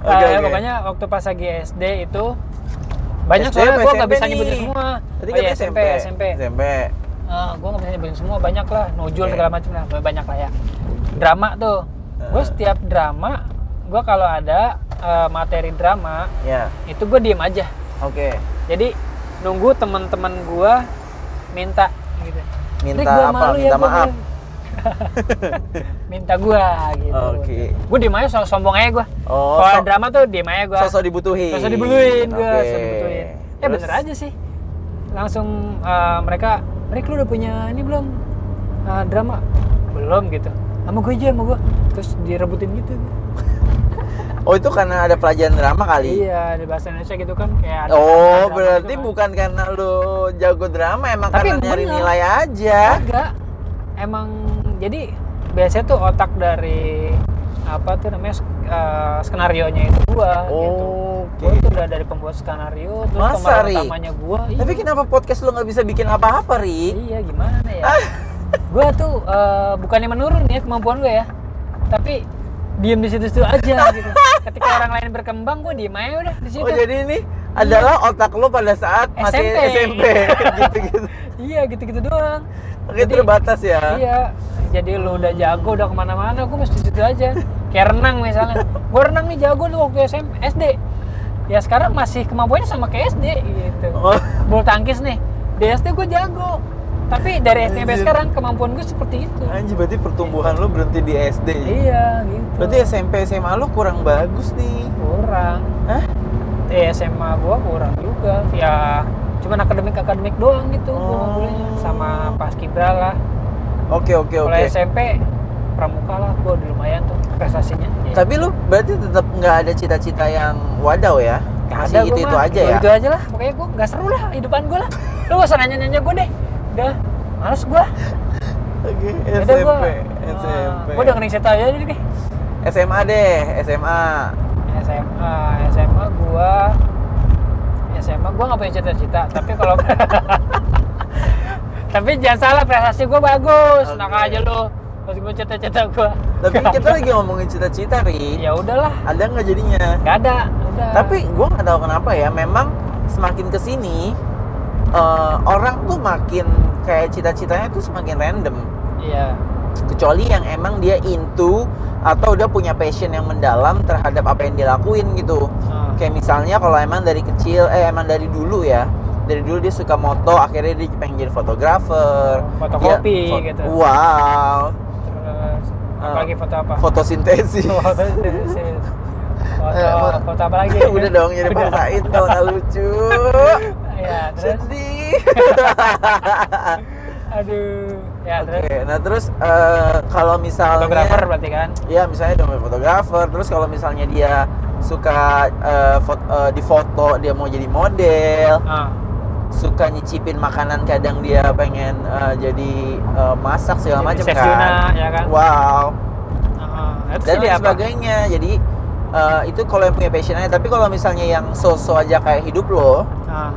Speaker 2: Oke,
Speaker 1: Eh,
Speaker 2: oke.
Speaker 1: Pokoknya waktu pas lagi SD itu
Speaker 2: SD
Speaker 1: banyak soalnya
Speaker 2: apa
Speaker 1: gue nggak
Speaker 2: SMP
Speaker 1: bisa nyebutin
Speaker 2: nih?
Speaker 1: semua.
Speaker 2: Tadi
Speaker 1: Oh,
Speaker 2: kan
Speaker 1: iya,
Speaker 2: SMP.
Speaker 1: SMP. gue Eh, nggak bisa nyebutin semua banyak lah nojol
Speaker 2: Oke.
Speaker 1: segala macam lah banyak lah ya drama tuh gue
Speaker 2: Heeh.
Speaker 1: setiap drama gue kalau ada eh, materi drama
Speaker 2: Ya.
Speaker 1: itu gue diem aja
Speaker 2: Oke.
Speaker 1: jadi nunggu teman-teman gue minta gitu
Speaker 2: Minta
Speaker 1: gua
Speaker 2: apa?
Speaker 1: malu ya,
Speaker 2: Minta
Speaker 1: gua
Speaker 2: maaf.
Speaker 1: diem. [laughs] minta gue gitu
Speaker 2: Oke.
Speaker 1: gue diem aja so sombong aja gue
Speaker 2: Oh,
Speaker 1: kalau
Speaker 2: so-
Speaker 1: drama tuh diem aja gue
Speaker 2: Sosok dibutuhin.
Speaker 1: Terus dibuluin gue,
Speaker 2: Oke.
Speaker 1: terus dibutuhin. Ya
Speaker 2: Terus?
Speaker 1: bener aja sih. Langsung eh, mereka, Rick lu udah punya ini belum? Eh, drama? Belum gitu. Sama gue aja sama gue. Terus direbutin gitu.
Speaker 2: Oh, itu karena ada pelajaran drama kali.
Speaker 1: Iya, di bahasa Indonesia gitu kan kayak ada
Speaker 2: Oh,
Speaker 1: drama
Speaker 2: berarti
Speaker 1: gitu kan.
Speaker 2: bukan karena lu jago drama, emang
Speaker 1: Tapi
Speaker 2: karena nyari
Speaker 1: bener.
Speaker 2: nilai aja.
Speaker 1: Kagak. Emang jadi biasanya tuh otak dari apa tuh namanya skenario nya itu gua gitu.
Speaker 2: Oh, Oke.
Speaker 1: Gue tuh udah dari pembuat skenario terus
Speaker 2: Masa,
Speaker 1: pemeran
Speaker 2: Rick?
Speaker 1: utamanya gua. iya.
Speaker 2: Tapi kenapa podcast lu nggak bisa bikin apa-apa, Ri?
Speaker 1: Iya gimana ya? gue tuh eh, bukannya menurun ya kemampuan gue ya, tapi diem di situ-situ aja gitu. Ketika orang lain berkembang, gue diem aja udah di situ.
Speaker 2: Oh, jadi
Speaker 1: Iya.
Speaker 2: ini adalah otak lu pada saat masih
Speaker 1: SMP. [laughs]
Speaker 2: SMP, gitu-gitu.
Speaker 1: Iya gitu-gitu doang.
Speaker 2: Oke, terbatas ya.
Speaker 1: Iya. Jadi lu udah jago udah kemana-mana, gue mesti di situ aja. Kayak renang misalnya. Gue renang nih jago tuh waktu SM, SD. Ya sekarang masih kemampuannya sama kayak SD gitu.
Speaker 2: Oh.
Speaker 1: Bulu tangkis nih. Di SD gue jago. Tapi dari SD sampai
Speaker 2: Anjir.
Speaker 1: sekarang kemampuan gue seperti itu.
Speaker 2: Anjir berarti pertumbuhan lu berhenti di SD.
Speaker 1: Iya gitu.
Speaker 2: Berarti SMP SMA lu kurang bagus nih.
Speaker 1: kurang
Speaker 2: Hah?
Speaker 1: eh, SMA gua kurang juga ya cuman akademik akademik doang gitu gua
Speaker 2: Oh.
Speaker 1: ngobrolnya sama paskibra lah
Speaker 2: Oke oke
Speaker 1: kalau
Speaker 2: oke.
Speaker 1: SMP pramuka lah gua udah lumayan tuh prestasinya Ya,
Speaker 2: Tapi lu berarti tetap nggak ada cita-cita yang wadaw ya?
Speaker 1: nggak
Speaker 2: Masih
Speaker 1: gua
Speaker 2: itu itu
Speaker 1: mah. Oh,
Speaker 2: aja ya.
Speaker 1: itu aja lah pokoknya gua nggak seru lah hidupan gua lah lu gak usah nanya nanya gua deh udah males gua
Speaker 2: Oke,
Speaker 1: Yaudah, gua ah,
Speaker 2: SMP.
Speaker 1: gua dengerin cerita aja deh
Speaker 2: SMA deh, SMA.
Speaker 1: SMA SMA gua SMA gua nggak punya cita-cita tapi
Speaker 2: [laughs]
Speaker 1: kalau tapi jangan salah prestasi gua bagus
Speaker 2: Oke.
Speaker 1: nak aja lu meskipun cita-cita gua
Speaker 2: Tapi kita lagi ngomongin cita-cita, Ri.
Speaker 1: [laughs] ya udahlah
Speaker 2: Ada nggak jadinya?
Speaker 1: nggak ada udah
Speaker 2: Tapi gue nggak tahu kenapa ya. Memang semakin kesini eh, orang tuh makin kayak cita-citanya tuh semakin random.
Speaker 1: iya
Speaker 2: Kecuali yang emang dia into atau udah punya passion yang mendalam terhadap apa yang dia lakuin gitu.
Speaker 1: Ah,
Speaker 2: Kayak misalnya kalau emang dari kecil, eh emang dari dulu ya, dari dulu dia suka moto, akhirnya dia pengen jadi fotografer.
Speaker 1: Fotokopi
Speaker 2: Dia fo-
Speaker 1: gitu.
Speaker 2: Wow,
Speaker 1: terus
Speaker 2: Ah.
Speaker 1: apalagi foto apa
Speaker 2: fotosintesis.
Speaker 1: [laughs] foto foto
Speaker 2: Eh,
Speaker 1: foto apa
Speaker 2: [laughs]
Speaker 1: lagi
Speaker 2: udah dong jadi paksain kalau nggak lucu.
Speaker 1: ya terus [laughs]
Speaker 2: Sedih.
Speaker 1: aduh ya
Speaker 2: Oke,
Speaker 1: terus
Speaker 2: nah terus eh, kalau misalnya
Speaker 1: fotografer berarti kan
Speaker 2: ya misalnya dia fotografer, terus kalau misalnya dia suka eh, fot- eh, di foto dia mau jadi model,
Speaker 1: ah
Speaker 2: suka nyicipin makanan kadang dia pengen eh, jadi eh, masak segala
Speaker 1: Jadi
Speaker 2: macam
Speaker 1: chef Yuna,
Speaker 2: kan.
Speaker 1: ya kan
Speaker 2: Wow.
Speaker 1: Ah, ah. Terus
Speaker 2: Dan
Speaker 1: jadi
Speaker 2: lain
Speaker 1: apa?
Speaker 2: sebagainya. Jadi eh, itu kalau yang punya passionnya, tapi kalau misalnya yang so-so aja kayak hidup lo
Speaker 1: Ah,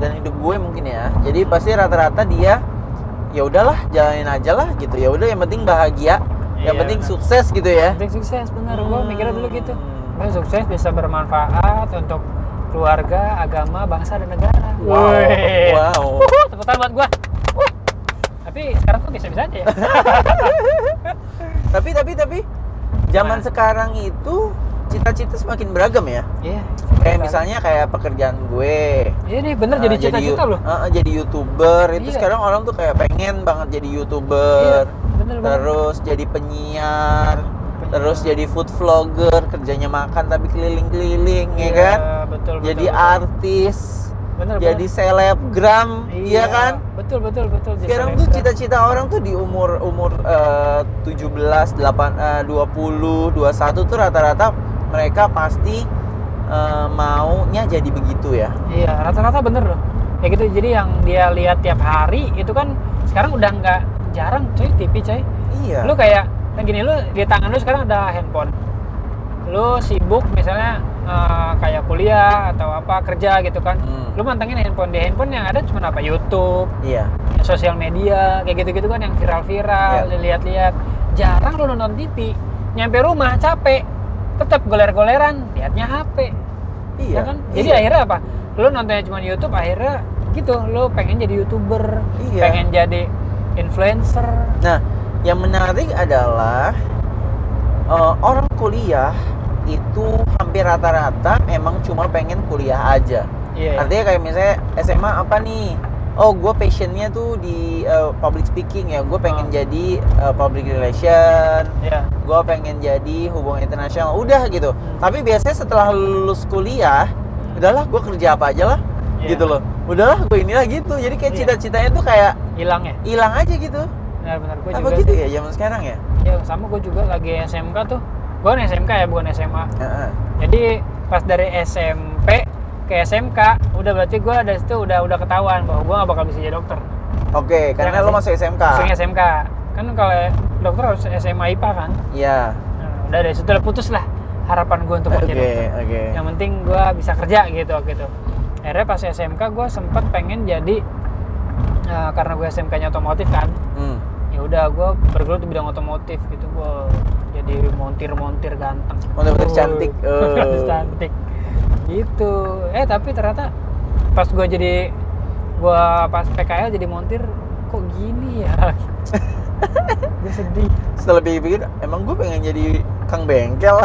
Speaker 2: dan hidup gue mungkin ya. Jadi pasti rata-rata dia ya udahlah jalanin aja lah gitu. Ya udah yang penting bahagia. yang
Speaker 1: Iya,
Speaker 2: penting
Speaker 1: benar.
Speaker 2: sukses gitu ya.
Speaker 1: penting sukses bener gua
Speaker 2: Hmm.
Speaker 1: mikirnya dulu gitu Gua sukses bisa bermanfaat untuk keluarga agama bangsa dan negara
Speaker 2: Wow.
Speaker 1: Wih.
Speaker 2: Wow.
Speaker 1: Wuhu, tepuk tangan buat gua Wuh. tapi sekarang kok bisa bisa aja
Speaker 2: [laughs]
Speaker 1: ya
Speaker 2: Tapi tapi tapi zaman
Speaker 1: Gimana?
Speaker 2: sekarang itu cita-cita semakin beragam ya.
Speaker 1: iya
Speaker 2: Kayak misalnya kayak pekerjaan gue.
Speaker 1: iya nih bener jadi
Speaker 2: Eh,
Speaker 1: cita-cita
Speaker 2: yu-
Speaker 1: loh
Speaker 2: eh, jadi YouTuber itu
Speaker 1: Iya.
Speaker 2: sekarang orang tuh kayak pengen banget jadi
Speaker 1: iya
Speaker 2: YouTuber.
Speaker 1: bener bener
Speaker 2: Terus jadi penyiar, terus jadi food vlogger, kerjanya makan tapi keliling-keliling ya
Speaker 1: Iya,
Speaker 2: kan.
Speaker 1: betul, betul,
Speaker 2: Jadi
Speaker 1: betul.
Speaker 2: artis,
Speaker 1: bener,
Speaker 2: jadi selebgram, iya kan?
Speaker 1: betul betul betul jadi
Speaker 2: Sekarang tuh
Speaker 1: selebgram.
Speaker 2: cita-cita orang tuh di umur umur eh, 17, 8, eh, 20, 21 tuh rata-rata mereka pasti eh, maunya jadi begitu ya.
Speaker 1: Iya, rata-rata bener loh. Ya gitu, jadi yang dia lihat tiap hari itu kan sekarang udah nggak jarang cuy TV cuy.
Speaker 2: Iya.
Speaker 1: Lu kayak kan gini lu di tangan lu sekarang ada handphone. Lu sibuk misalnya eh, kayak kuliah atau apa kerja gitu kan.
Speaker 2: Hmm.
Speaker 1: Lu mantengin handphone di handphone yang ada cuma apa YouTube,
Speaker 2: Iya.
Speaker 1: sosial media kayak gitu-gitu kan yang
Speaker 2: Iya.
Speaker 1: viral-viral, dilihat-lihat. Jarang lu nonton TV. Nyampe rumah capek, tetap goler-goleran, liatnya HP
Speaker 2: Iya.
Speaker 1: ya kan? Jadi
Speaker 2: Iya.
Speaker 1: akhirnya apa? Lu nontonnya cuma di YouTube, akhirnya gitu, lu pengen jadi youtuber,
Speaker 2: Iya.
Speaker 1: pengen jadi influencer.
Speaker 2: Nah, yang menarik adalah eh, orang kuliah itu hampir rata-rata emang cuma pengen kuliah aja.
Speaker 1: Iya. iya.
Speaker 2: Artinya kayak misalnya SMA apa nih? Oh, gue passionnya tuh di eh, public speaking ya. Gue pengen
Speaker 1: Ah.
Speaker 2: jadi eh, public relation.
Speaker 1: Iya.
Speaker 2: Gue pengen jadi hubungan internasional. Udah gitu.
Speaker 1: Hmm.
Speaker 2: Tapi biasanya setelah lulus kuliah, udahlah gue kerja apa aja lah.
Speaker 1: Iya.
Speaker 2: Gitu loh. Udahlah gue inilah gitu. Jadi kayak
Speaker 1: Iya. cita-citanya
Speaker 2: cita-citanya tuh kayak
Speaker 1: Hilang ya?
Speaker 2: hilang aja gitu.
Speaker 1: Benar-benar gue
Speaker 2: Apa
Speaker 1: juga.
Speaker 2: gitu ya zaman sekarang ya?
Speaker 1: Ya sama gue juga lagi SMK tuh. Gue kan SMK ya, bukan SMA. Jadi pas dari SMP ke SMK, udah berarti gue dari situ udah udah ketahuan bahwa gue gak bakal bisa jadi dokter.
Speaker 2: Oke, karena
Speaker 1: nggak
Speaker 2: lo
Speaker 1: sih?
Speaker 2: masuk SMK.
Speaker 1: Langsung SMK. Kan kalau dokter harus SMA IPA kan?
Speaker 2: Iya.
Speaker 1: Nah, udah dari situ udah putus lah harapan gue untuk mau
Speaker 2: Oke,
Speaker 1: jadi dokter.
Speaker 2: oke.
Speaker 1: yang penting gue bisa kerja gitu gitu akhirnya pas SMK gue sempet pengen jadi eh, karena gue SMK nya otomotif kan
Speaker 2: Hmm.
Speaker 1: ya udah gue bergelut di bidang otomotif gitu gue jadi montir-montir ganteng
Speaker 2: Montir-montir
Speaker 1: Wuh,
Speaker 2: cantik. Eh.
Speaker 1: [laughs] montir cantik gitu eh tapi ternyata pas gue jadi gue pas PKL jadi montir kok
Speaker 2: [laughs]
Speaker 1: gini ya gue sedih
Speaker 2: Setelah pikir-pikir, emang gue pengen jadi kang bengkel.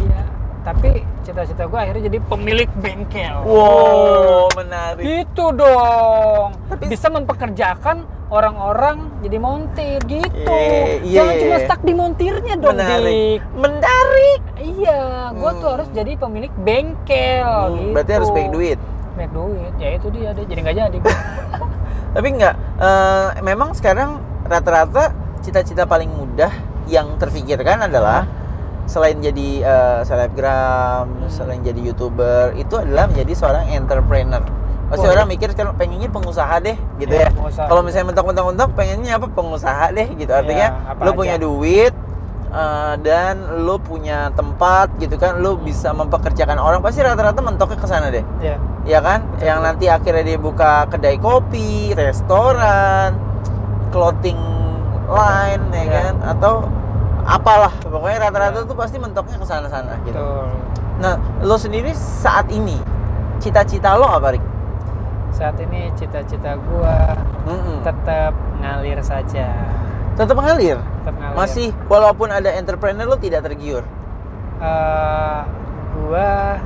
Speaker 1: iya tapi cita-cita gue akhirnya jadi pemilik bengkel
Speaker 2: Wow, menarik.
Speaker 1: Oh. gitu dong
Speaker 2: Tapi-
Speaker 1: bisa mempekerjakan orang-orang jadi montir gitu
Speaker 2: Iya, iya,
Speaker 1: jangan
Speaker 2: iya,
Speaker 1: cuma
Speaker 2: iya.
Speaker 1: stuck di montirnya dong
Speaker 2: Menarik.
Speaker 1: Dik.
Speaker 2: Menarik.
Speaker 1: iya gue tuh
Speaker 2: Hmm.
Speaker 1: harus jadi pemilik bengkel gitu
Speaker 2: Berarti harus banyak duit.
Speaker 1: banyak duit ya itu dia deh jadi nggak jadi gua.
Speaker 2: Tapi enggak eh, memang sekarang rata-rata cita-cita paling mudah yang terfikirkan adalah selain jadi eh, selebgram,
Speaker 1: Hmm.
Speaker 2: selain jadi YouTuber, itu adalah menjadi seorang entrepreneur. Pasti
Speaker 1: Wah.
Speaker 2: orang mikir sekarang pengennya pengusaha deh gitu ya.
Speaker 1: Iya, pengusaha.
Speaker 2: Kalau misalnya mentok-mentok-mentok pengennya apa pengusaha deh gitu. Artinya
Speaker 1: Iya, apa
Speaker 2: lo
Speaker 1: aja.
Speaker 2: punya duit eh, dan lo punya tempat gitu kan, lo bisa mempekerjakan orang. Pasti rata-rata mentoknya ke sana deh
Speaker 1: ya
Speaker 2: ya kan yang nanti akhirnya dia buka kedai kopi restoran clothing line ya
Speaker 1: Iya.
Speaker 2: kan atau apalah pokoknya rata-rata tuh pasti mentoknya ke sana-sana gitu
Speaker 1: betul
Speaker 2: nah lo sendiri saat ini cita-cita lo apa Rik?
Speaker 1: saat ini cita-cita gua
Speaker 2: Mm-mm.
Speaker 1: tetap ngalir saja
Speaker 2: tetap mengalir
Speaker 1: tetap ngalir
Speaker 2: masih walaupun ada entrepreneur lo tidak tergiur
Speaker 1: Eh, gua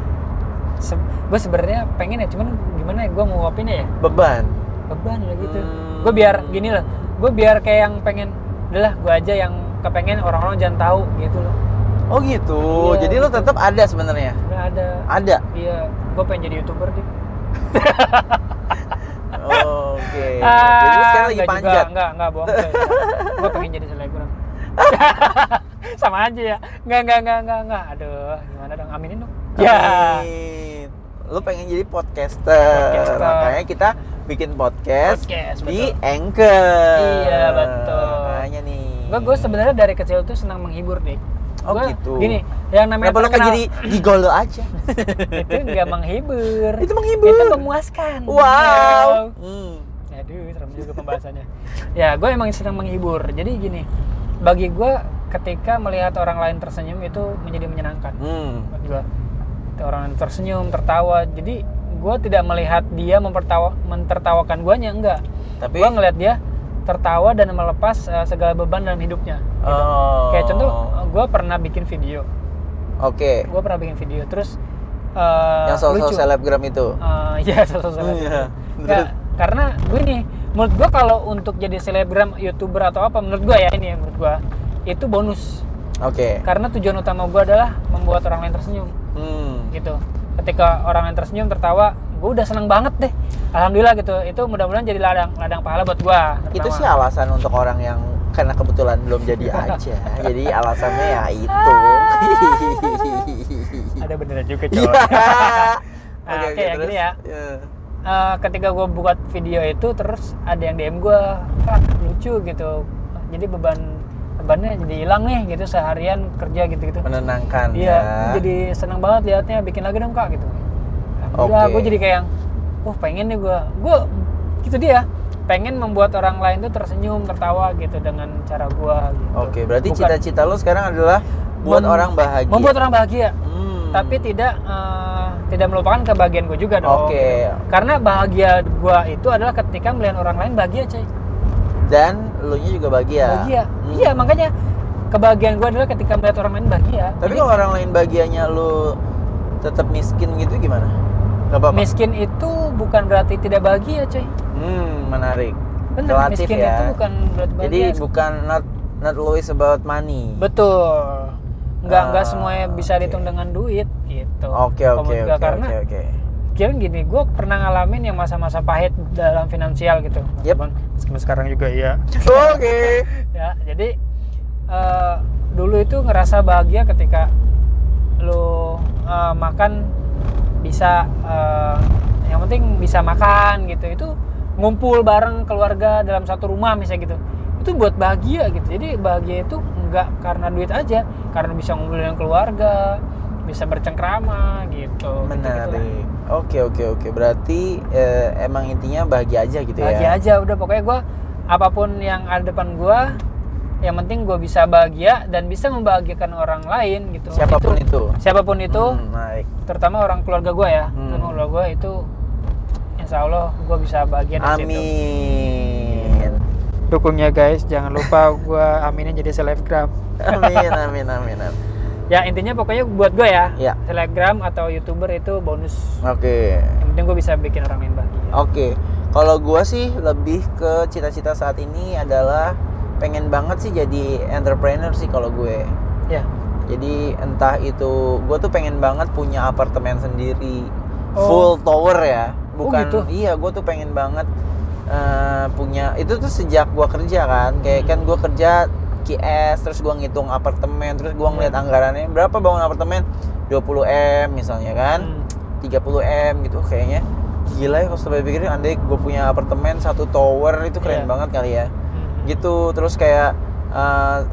Speaker 1: se gua sebenarnya pengen ya cuman gimana ya gua nguapinnya ya
Speaker 2: beban
Speaker 1: beban lah gitu
Speaker 2: Hmm.
Speaker 1: gua biar gini lah gua biar kayak yang pengen adalah gua aja yang kepengen orang-orang jangan tahu gitu loh
Speaker 2: oh gitu
Speaker 1: Iya,
Speaker 2: jadi lo
Speaker 1: gitu.
Speaker 2: tetap ada sebenarnya
Speaker 1: udah ada
Speaker 2: ada
Speaker 1: iya gua pengen jadi youtuber deh
Speaker 2: oke
Speaker 1: [laughs]
Speaker 2: jadi lo sekarang lagi
Speaker 1: enggak Ah, juga,
Speaker 2: panjat
Speaker 1: enggak, enggak bohong.
Speaker 2: [laughs]
Speaker 1: gue pengen jadi selebgram. [laughs] Sama aja ya. Enggak, enggak, enggak, enggak, enggak. Aduh, gimana dong? Aminin dong. Ya.
Speaker 2: Amin. Lu pengen jadi podcaster.
Speaker 1: Podcaster.
Speaker 2: Makanya kita bikin podcast,
Speaker 1: Podcast,
Speaker 2: di
Speaker 1: betul.
Speaker 2: Anchor.
Speaker 1: Iya, betul.
Speaker 2: Makanya nih.
Speaker 1: Gue gue sebenarnya dari kecil tuh senang menghibur nih.
Speaker 2: Oh, gitu.
Speaker 1: Gini, yang namanya
Speaker 2: Kenapa lu nggak jadi
Speaker 1: terkenal
Speaker 2: gigolo aja?
Speaker 1: itu enggak menghibur.
Speaker 2: Itu menghibur.
Speaker 1: Itu memuaskan. Ya,
Speaker 2: Wow. Hmm.
Speaker 1: Aduh, serem juga pembahasannya. ya, gue emang senang menghibur. Jadi gini, bagi gue ketika melihat orang lain tersenyum itu menjadi menyenangkan.
Speaker 2: Hmm.
Speaker 1: Buat gua. Itu orang yang tersenyum tertawa jadi gue tidak melihat dia mempertawa mentertawakan guanya enggak
Speaker 2: Tapi
Speaker 1: gue ngeliat dia tertawa dan melepas eh, segala beban dalam hidupnya
Speaker 2: Oh.
Speaker 1: kayak contoh gue pernah bikin video
Speaker 2: Oke.
Speaker 1: gue pernah bikin video terus eh,
Speaker 2: Yang sosok
Speaker 1: lucu
Speaker 2: selebgram itu.
Speaker 1: Eh, [laughs] iya sosok selebgram
Speaker 2: Iya.
Speaker 1: Enggak, karena gue nih menurut gue kalau untuk jadi selebgram youtuber atau apa menurut gue ya ini ya menurut gue itu bonus
Speaker 2: Oke.
Speaker 1: karena tujuan utama gue adalah membuat orang lain tersenyum
Speaker 2: Hmm.
Speaker 1: gitu ketika orang yang tersenyum tertawa gue udah seneng banget deh alhamdulillah gitu itu mudah-mudahan jadi ladang ladang pahala buat gue
Speaker 2: Itu sih alasan untuk orang yang karena kebetulan belum
Speaker 1: [laughs]
Speaker 2: jadi aja. jadi alasannya ya itu.
Speaker 1: Iya. ada beneran juga
Speaker 2: Iya.
Speaker 1: cowok Nah, oke, yang
Speaker 2: terus.
Speaker 1: gini ya.
Speaker 2: Iya.
Speaker 1: Eh, ketika gue buat video itu terus ada yang dm gue "Kak, lucu gitu jadi beban bebannya jadi hilang nih gitu seharian kerja gitu gitu
Speaker 2: Menenangkan
Speaker 1: iya
Speaker 2: ya.
Speaker 1: jadi seneng banget liatnya bikin lagi dong kak gitu alhamdulillah
Speaker 2: Oke.
Speaker 1: gue jadi kayak yang wah pengen nih gue gue gitu dia pengen membuat orang lain tuh tersenyum tertawa gitu dengan cara gue gitu.
Speaker 2: Oke, berarti
Speaker 1: Bukan-
Speaker 2: cita-cita lo sekarang adalah buat
Speaker 1: Mem-
Speaker 2: orang bahagia.
Speaker 1: membuat orang bahagia
Speaker 2: Hmm.
Speaker 1: tapi tidak eh, tidak melupakan kebahagiaan gue juga dong
Speaker 2: Oke.
Speaker 1: karena bahagia gue itu adalah ketika melihat orang lain bahagia cuy
Speaker 2: Dan lo nya juga bahagia.
Speaker 1: bahagia
Speaker 2: Hmm.
Speaker 1: iya makanya kebahagiaan gue adalah ketika melihat orang lain bahagia
Speaker 2: Tapi kalau orang lain bahagianya lo tetap miskin gitu gimana? Gak apa-apa.
Speaker 1: miskin itu bukan berarti tidak bahagia cuy
Speaker 2: Hmm, menarik.
Speaker 1: bener
Speaker 2: Relatif
Speaker 1: miskin
Speaker 2: ya.
Speaker 1: itu bukan berarti
Speaker 2: Jadi
Speaker 1: bahagia
Speaker 2: bukan not not always about money.
Speaker 1: betul nggak
Speaker 2: Ah,
Speaker 1: nggak semuanya bisa
Speaker 2: oke.
Speaker 1: dihitung dengan duit gitu
Speaker 2: Oke,
Speaker 1: Kalau
Speaker 2: oke,
Speaker 1: menurut gua,
Speaker 2: oke,
Speaker 1: karena
Speaker 2: oke, oke.
Speaker 1: kira gini gue pernah ngalamin yang masa-masa pahit dalam finansial gitu
Speaker 2: Yep.
Speaker 1: Bang, meskipun sekarang juga iya
Speaker 2: Oke.
Speaker 1: [laughs] ya jadi eh, dulu itu ngerasa bahagia ketika lu eh, makan bisa eh, yang penting bisa makan gitu itu ngumpul bareng keluarga dalam satu rumah misalnya gitu itu buat bahagia gitu jadi bahagia itu nggak karena duit aja karena bisa ngumpul dengan keluarga bisa bercengkrama gitu Gitu-gitulah.
Speaker 2: Menarik. Oke oke oke. Berarti eh, emang intinya bahagia aja gitu
Speaker 1: bahagia
Speaker 2: ya.
Speaker 1: aja udah pokoknya gue apapun yang ada depan gue yang penting gue bisa bahagia dan bisa membahagiakan orang lain gitu
Speaker 2: Siapapun itu.
Speaker 1: siapapun itu
Speaker 2: Hmm, menarik.
Speaker 1: terutama orang keluarga gue ya
Speaker 2: Hmm.
Speaker 1: terutama keluarga gue itu insya Allah gue bisa bahagia dari situ
Speaker 2: Amin.
Speaker 1: dukungnya guys jangan lupa gue aminin jadi selebgram
Speaker 2: Amin amin amin. amin.
Speaker 1: ya intinya pokoknya buat gue ya
Speaker 2: Iya.
Speaker 1: telegram atau youtuber itu bonus
Speaker 2: Oke.
Speaker 1: yang penting gue bisa bikin orang lain bahagia
Speaker 2: Oke. Kalau gua sih lebih ke cita-cita saat ini adalah pengen banget sih jadi entrepreneur sih kalau gue.
Speaker 1: ya
Speaker 2: Jadi entah itu gue tuh pengen banget punya apartemen sendiri
Speaker 1: Oh.
Speaker 2: full tower ya,
Speaker 1: Oh,
Speaker 2: bukan
Speaker 1: gitu?
Speaker 2: iya gue tuh pengen banget eh, punya itu tuh sejak gue kerja kan, kayak kan gue kerja QS terus gue ngitung apartemen terus gue
Speaker 1: Iya.
Speaker 2: ngeliat anggarannya berapa bangun apartemen 20 m misalnya kan.
Speaker 1: Hmm.
Speaker 2: 30M gitu kayaknya gila ya kalau setelah pikirin andai gue punya apartemen satu tower itu keren
Speaker 1: Iya.
Speaker 2: banget kali ya
Speaker 1: Hmm.
Speaker 2: gitu terus kayak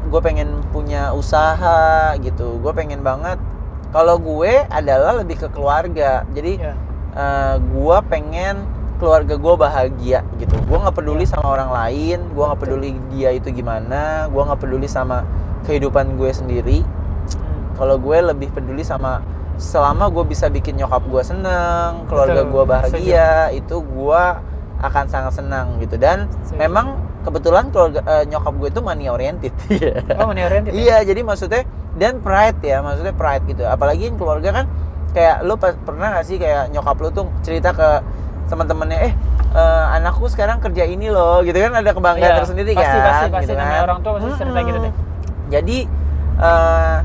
Speaker 2: gue pengen punya usaha gitu gue pengen banget kalau gue adalah lebih ke keluarga jadi
Speaker 1: Ya.
Speaker 2: gue pengen keluarga gue bahagia gitu gue nggak peduli sama orang lain gue nggak peduli dia itu gimana gue nggak peduli sama kehidupan gue sendiri
Speaker 1: Hmm.
Speaker 2: kalau gue lebih peduli sama selama gue bisa bikin nyokap gue seneng keluarga
Speaker 1: Betul,
Speaker 2: gue bahagia itu gue akan sangat senang gitu dan
Speaker 1: Setuju.
Speaker 2: memang kebetulan keluarga eh, nyokap gue itu money oriented [laughs] Iya.
Speaker 1: oh money oriented ya?
Speaker 2: iya jadi maksudnya dan pride ya maksudnya pride gitu apalagi yang keluarga kan kayak lo pernah gak sih kayak nyokap lo tuh cerita ke teman-temannya eh eh, anakku sekarang kerja ini loh gitu kan ada kebanggaan
Speaker 1: Iya,
Speaker 2: tersendiri
Speaker 1: pasti,
Speaker 2: kan
Speaker 1: pasti pasti
Speaker 2: gitu
Speaker 1: namanya
Speaker 2: kan.
Speaker 1: orang tua pasti cerita gitu
Speaker 2: Mm-mm.
Speaker 1: deh
Speaker 2: Jadi eh,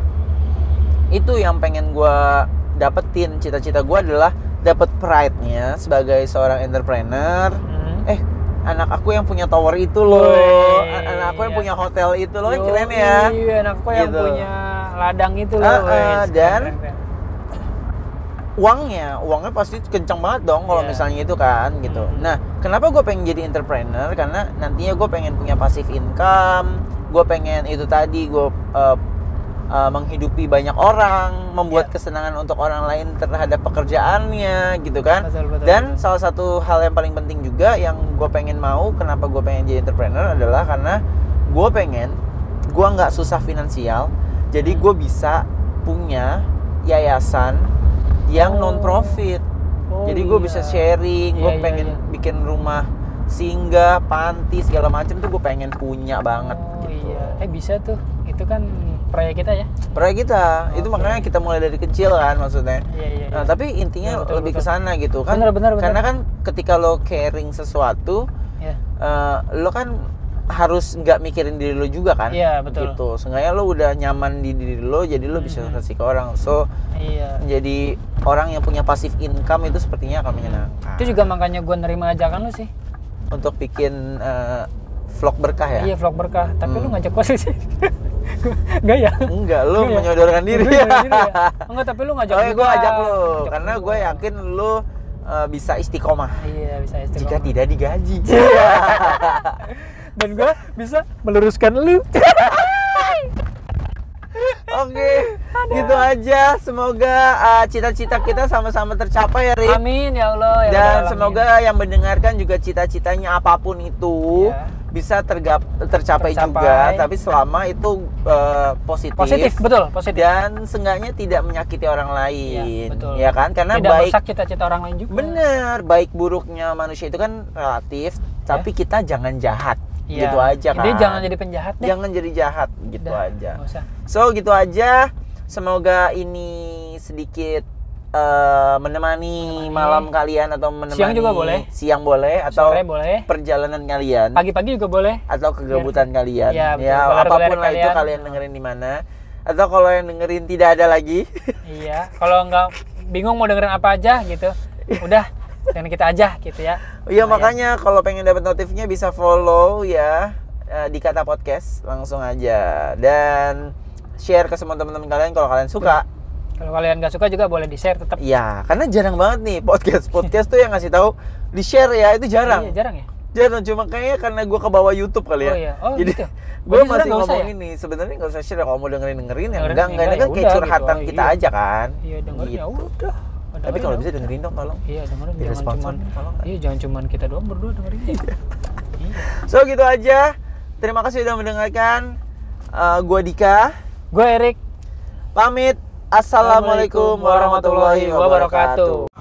Speaker 2: itu yang pengen gua dapetin. Cita-cita gua adalah dapet pride-nya sebagai seorang entrepreneur.
Speaker 1: Hmm.
Speaker 2: Eh, anak aku yang punya tower itu loh,
Speaker 1: Woi,
Speaker 2: An- anak aku yang
Speaker 1: iya.
Speaker 2: punya hotel itu loh,
Speaker 1: Yoi,
Speaker 2: keren ya.
Speaker 1: anakku iya, yang
Speaker 2: Gitu.
Speaker 1: punya ladang itu loh
Speaker 2: Ah, ah,
Speaker 1: wes. Keren,
Speaker 2: dan-
Speaker 1: keren, keren.
Speaker 2: uangnya uangnya pasti kencang banget dong kalau
Speaker 1: Iya.
Speaker 2: misalnya itu kan gitu
Speaker 1: Mhm.
Speaker 2: nah kenapa gue pengen jadi entrepreneur karena nantinya gue pengen punya passive income gue pengen itu tadi gue menghidupi banyak orang membuat kesenangan untuk orang lain terhadap pekerjaannya gitu kan
Speaker 1: Betul, betul,
Speaker 2: dan
Speaker 1: betul.
Speaker 2: salah satu hal yang paling penting juga yang gue pengen mau kenapa gue pengen jadi entrepreneur adalah karena gue pengen gue nggak susah finansial jadi gue bisa punya yayasan yang
Speaker 1: Oh.
Speaker 2: non profit
Speaker 1: Oh,
Speaker 2: jadi gue
Speaker 1: iya.
Speaker 2: bisa sharing gue
Speaker 1: Iya, iya,
Speaker 2: pengen
Speaker 1: iya.
Speaker 2: bikin rumah singgah panti segala macam tuh gue pengen punya banget gitu
Speaker 1: Oh, iya. eh bisa tuh itu kan proyek kita ya
Speaker 2: proyek kita itu
Speaker 1: Oke.
Speaker 2: makanya kita mulai dari kecil kan maksudnya
Speaker 1: iya iya,
Speaker 2: Nah, tapi intinya
Speaker 1: Iya, betul,
Speaker 2: lebih ke
Speaker 1: betul.
Speaker 2: sana gitu kan.
Speaker 1: Benar, benar, benar.
Speaker 2: Karena kan ketika lo caring sesuatu,
Speaker 1: iya.
Speaker 2: eh, lo kan harus nggak mikirin diri lo juga kan.
Speaker 1: Iya, betul.
Speaker 2: Gitu. Seenggaknya lo udah nyaman di diri lo, jadi lo bisa
Speaker 1: Mhm.
Speaker 2: kasih ke orang. So,
Speaker 1: iya
Speaker 2: jadi orang yang punya pasif income itu sepertinya akan menyenangkan.
Speaker 1: itu juga makanya gue nerima ajakan lu sih
Speaker 2: Untuk bikin eh, vlog berkah ya.
Speaker 1: iya vlog berkah tapi lu
Speaker 2: Hmm.
Speaker 1: ngajak gue sih [laughs] enggak ya
Speaker 2: Enggak,
Speaker 1: [laughs]
Speaker 2: lo
Speaker 1: Enggak ya?
Speaker 2: menyodorkan diri.
Speaker 1: Gua nyodorkan diri
Speaker 2: [laughs]
Speaker 1: ya? enggak tapi lu ngajak
Speaker 2: Oke,
Speaker 1: juga.
Speaker 2: gue ajak lo
Speaker 1: Ngajak
Speaker 2: karena
Speaker 1: gua.
Speaker 2: gue yakin lo eh, bisa istiqomah
Speaker 1: iya bisa istiqomah
Speaker 2: jika tidak
Speaker 1: [laughs]
Speaker 2: digaji.
Speaker 1: dan gue bisa meluruskan lu
Speaker 2: Oke, gitu aja. Semoga uh, cita-cita kita sama-sama tercapai ya, Rin.
Speaker 1: amin ya Allah ya
Speaker 2: Dan
Speaker 1: Rabbal Alamin.
Speaker 2: semoga yang mendengarkan juga cita-citanya apapun itu
Speaker 1: Iya.
Speaker 2: bisa tergap tercapai,
Speaker 1: Tercapai.
Speaker 2: juga, tapi selama itu uh, positif.
Speaker 1: positif betul positif
Speaker 2: Dan seenggaknya tidak menyakiti orang lain,
Speaker 1: Iya, betul.
Speaker 2: ya kan? Karena
Speaker 1: tidak
Speaker 2: baik
Speaker 1: merusak cita-cita orang lain juga
Speaker 2: bener, baik buruknya manusia itu kan relatif, tapi kita jangan jahat,
Speaker 1: Iya.
Speaker 2: gitu aja kan?
Speaker 1: Intinya jangan jadi penjahat deh
Speaker 2: Jangan jadi jahat, gitu
Speaker 1: Udah,
Speaker 2: aja.
Speaker 1: nggak usah.
Speaker 2: So gitu aja. Semoga ini sedikit eh, menemani,
Speaker 1: Menemani.
Speaker 2: malam kalian atau menemani
Speaker 1: Siang juga boleh.
Speaker 2: Siang boleh atau
Speaker 1: Sore boleh
Speaker 2: perjalanan kalian
Speaker 1: pagi-pagi juga boleh
Speaker 2: atau kegabutan kalian.
Speaker 1: Iya, betul.
Speaker 2: ya
Speaker 1: Kelar-kelar
Speaker 2: apapun lah itu
Speaker 1: kalian.
Speaker 2: kalian dengerin di mana. Atau kalau yang dengerin tidak ada lagi, [laughs]
Speaker 1: iya kalau nggak bingung mau dengerin apa aja gitu udah dengan kita aja gitu ya
Speaker 2: iya
Speaker 1: Lumayan.
Speaker 2: makanya kalau pengen dapat notifnya bisa follow ya eh, di kata podcast langsung aja dan share ke semua teman-teman kalian kalau kalian suka.
Speaker 1: kalau kalian nggak suka juga boleh di share tetap
Speaker 2: Iya, karena jarang banget nih podcast podcast tuh yang ngasih tahu di share ya itu jarang.
Speaker 1: Iya, jarang ya
Speaker 2: Jarang cuma kayaknya karena gue ke bawah YouTube kali ya.
Speaker 1: Oh iya. Oh,
Speaker 2: Jadi
Speaker 1: gitu.
Speaker 2: gue
Speaker 1: Berarti
Speaker 2: masih
Speaker 1: sekarang nggak usah
Speaker 2: ngomong
Speaker 1: ya?
Speaker 2: ini sebenarnya nggak usah share kalau mau dengerin dengerin ya
Speaker 1: Dengerin,
Speaker 2: enggak enggak ini
Speaker 1: enggak,
Speaker 2: kan kayak
Speaker 1: ya udah
Speaker 2: curhatan
Speaker 1: gitu.
Speaker 2: kita
Speaker 1: Iya.
Speaker 2: aja kan.
Speaker 1: iya dengerin
Speaker 2: Gitu.
Speaker 1: ya udah
Speaker 2: Tapi
Speaker 1: Oh, dengerin
Speaker 2: kalau
Speaker 1: ya
Speaker 2: bisa
Speaker 1: udah.
Speaker 2: dengerin dong tolong.
Speaker 1: iya dengerin
Speaker 2: Di
Speaker 1: jangan
Speaker 2: responsor,
Speaker 1: cuman
Speaker 2: tolong nggak?
Speaker 1: iya jangan cuman kita doang berdua dengerin ya iya.
Speaker 2: So gitu aja. Terima kasih sudah mendengarkan. Eh, gue Dika
Speaker 1: gue Erik
Speaker 2: pamit. Assalamualaikum warahmatullahi wabarakatuh.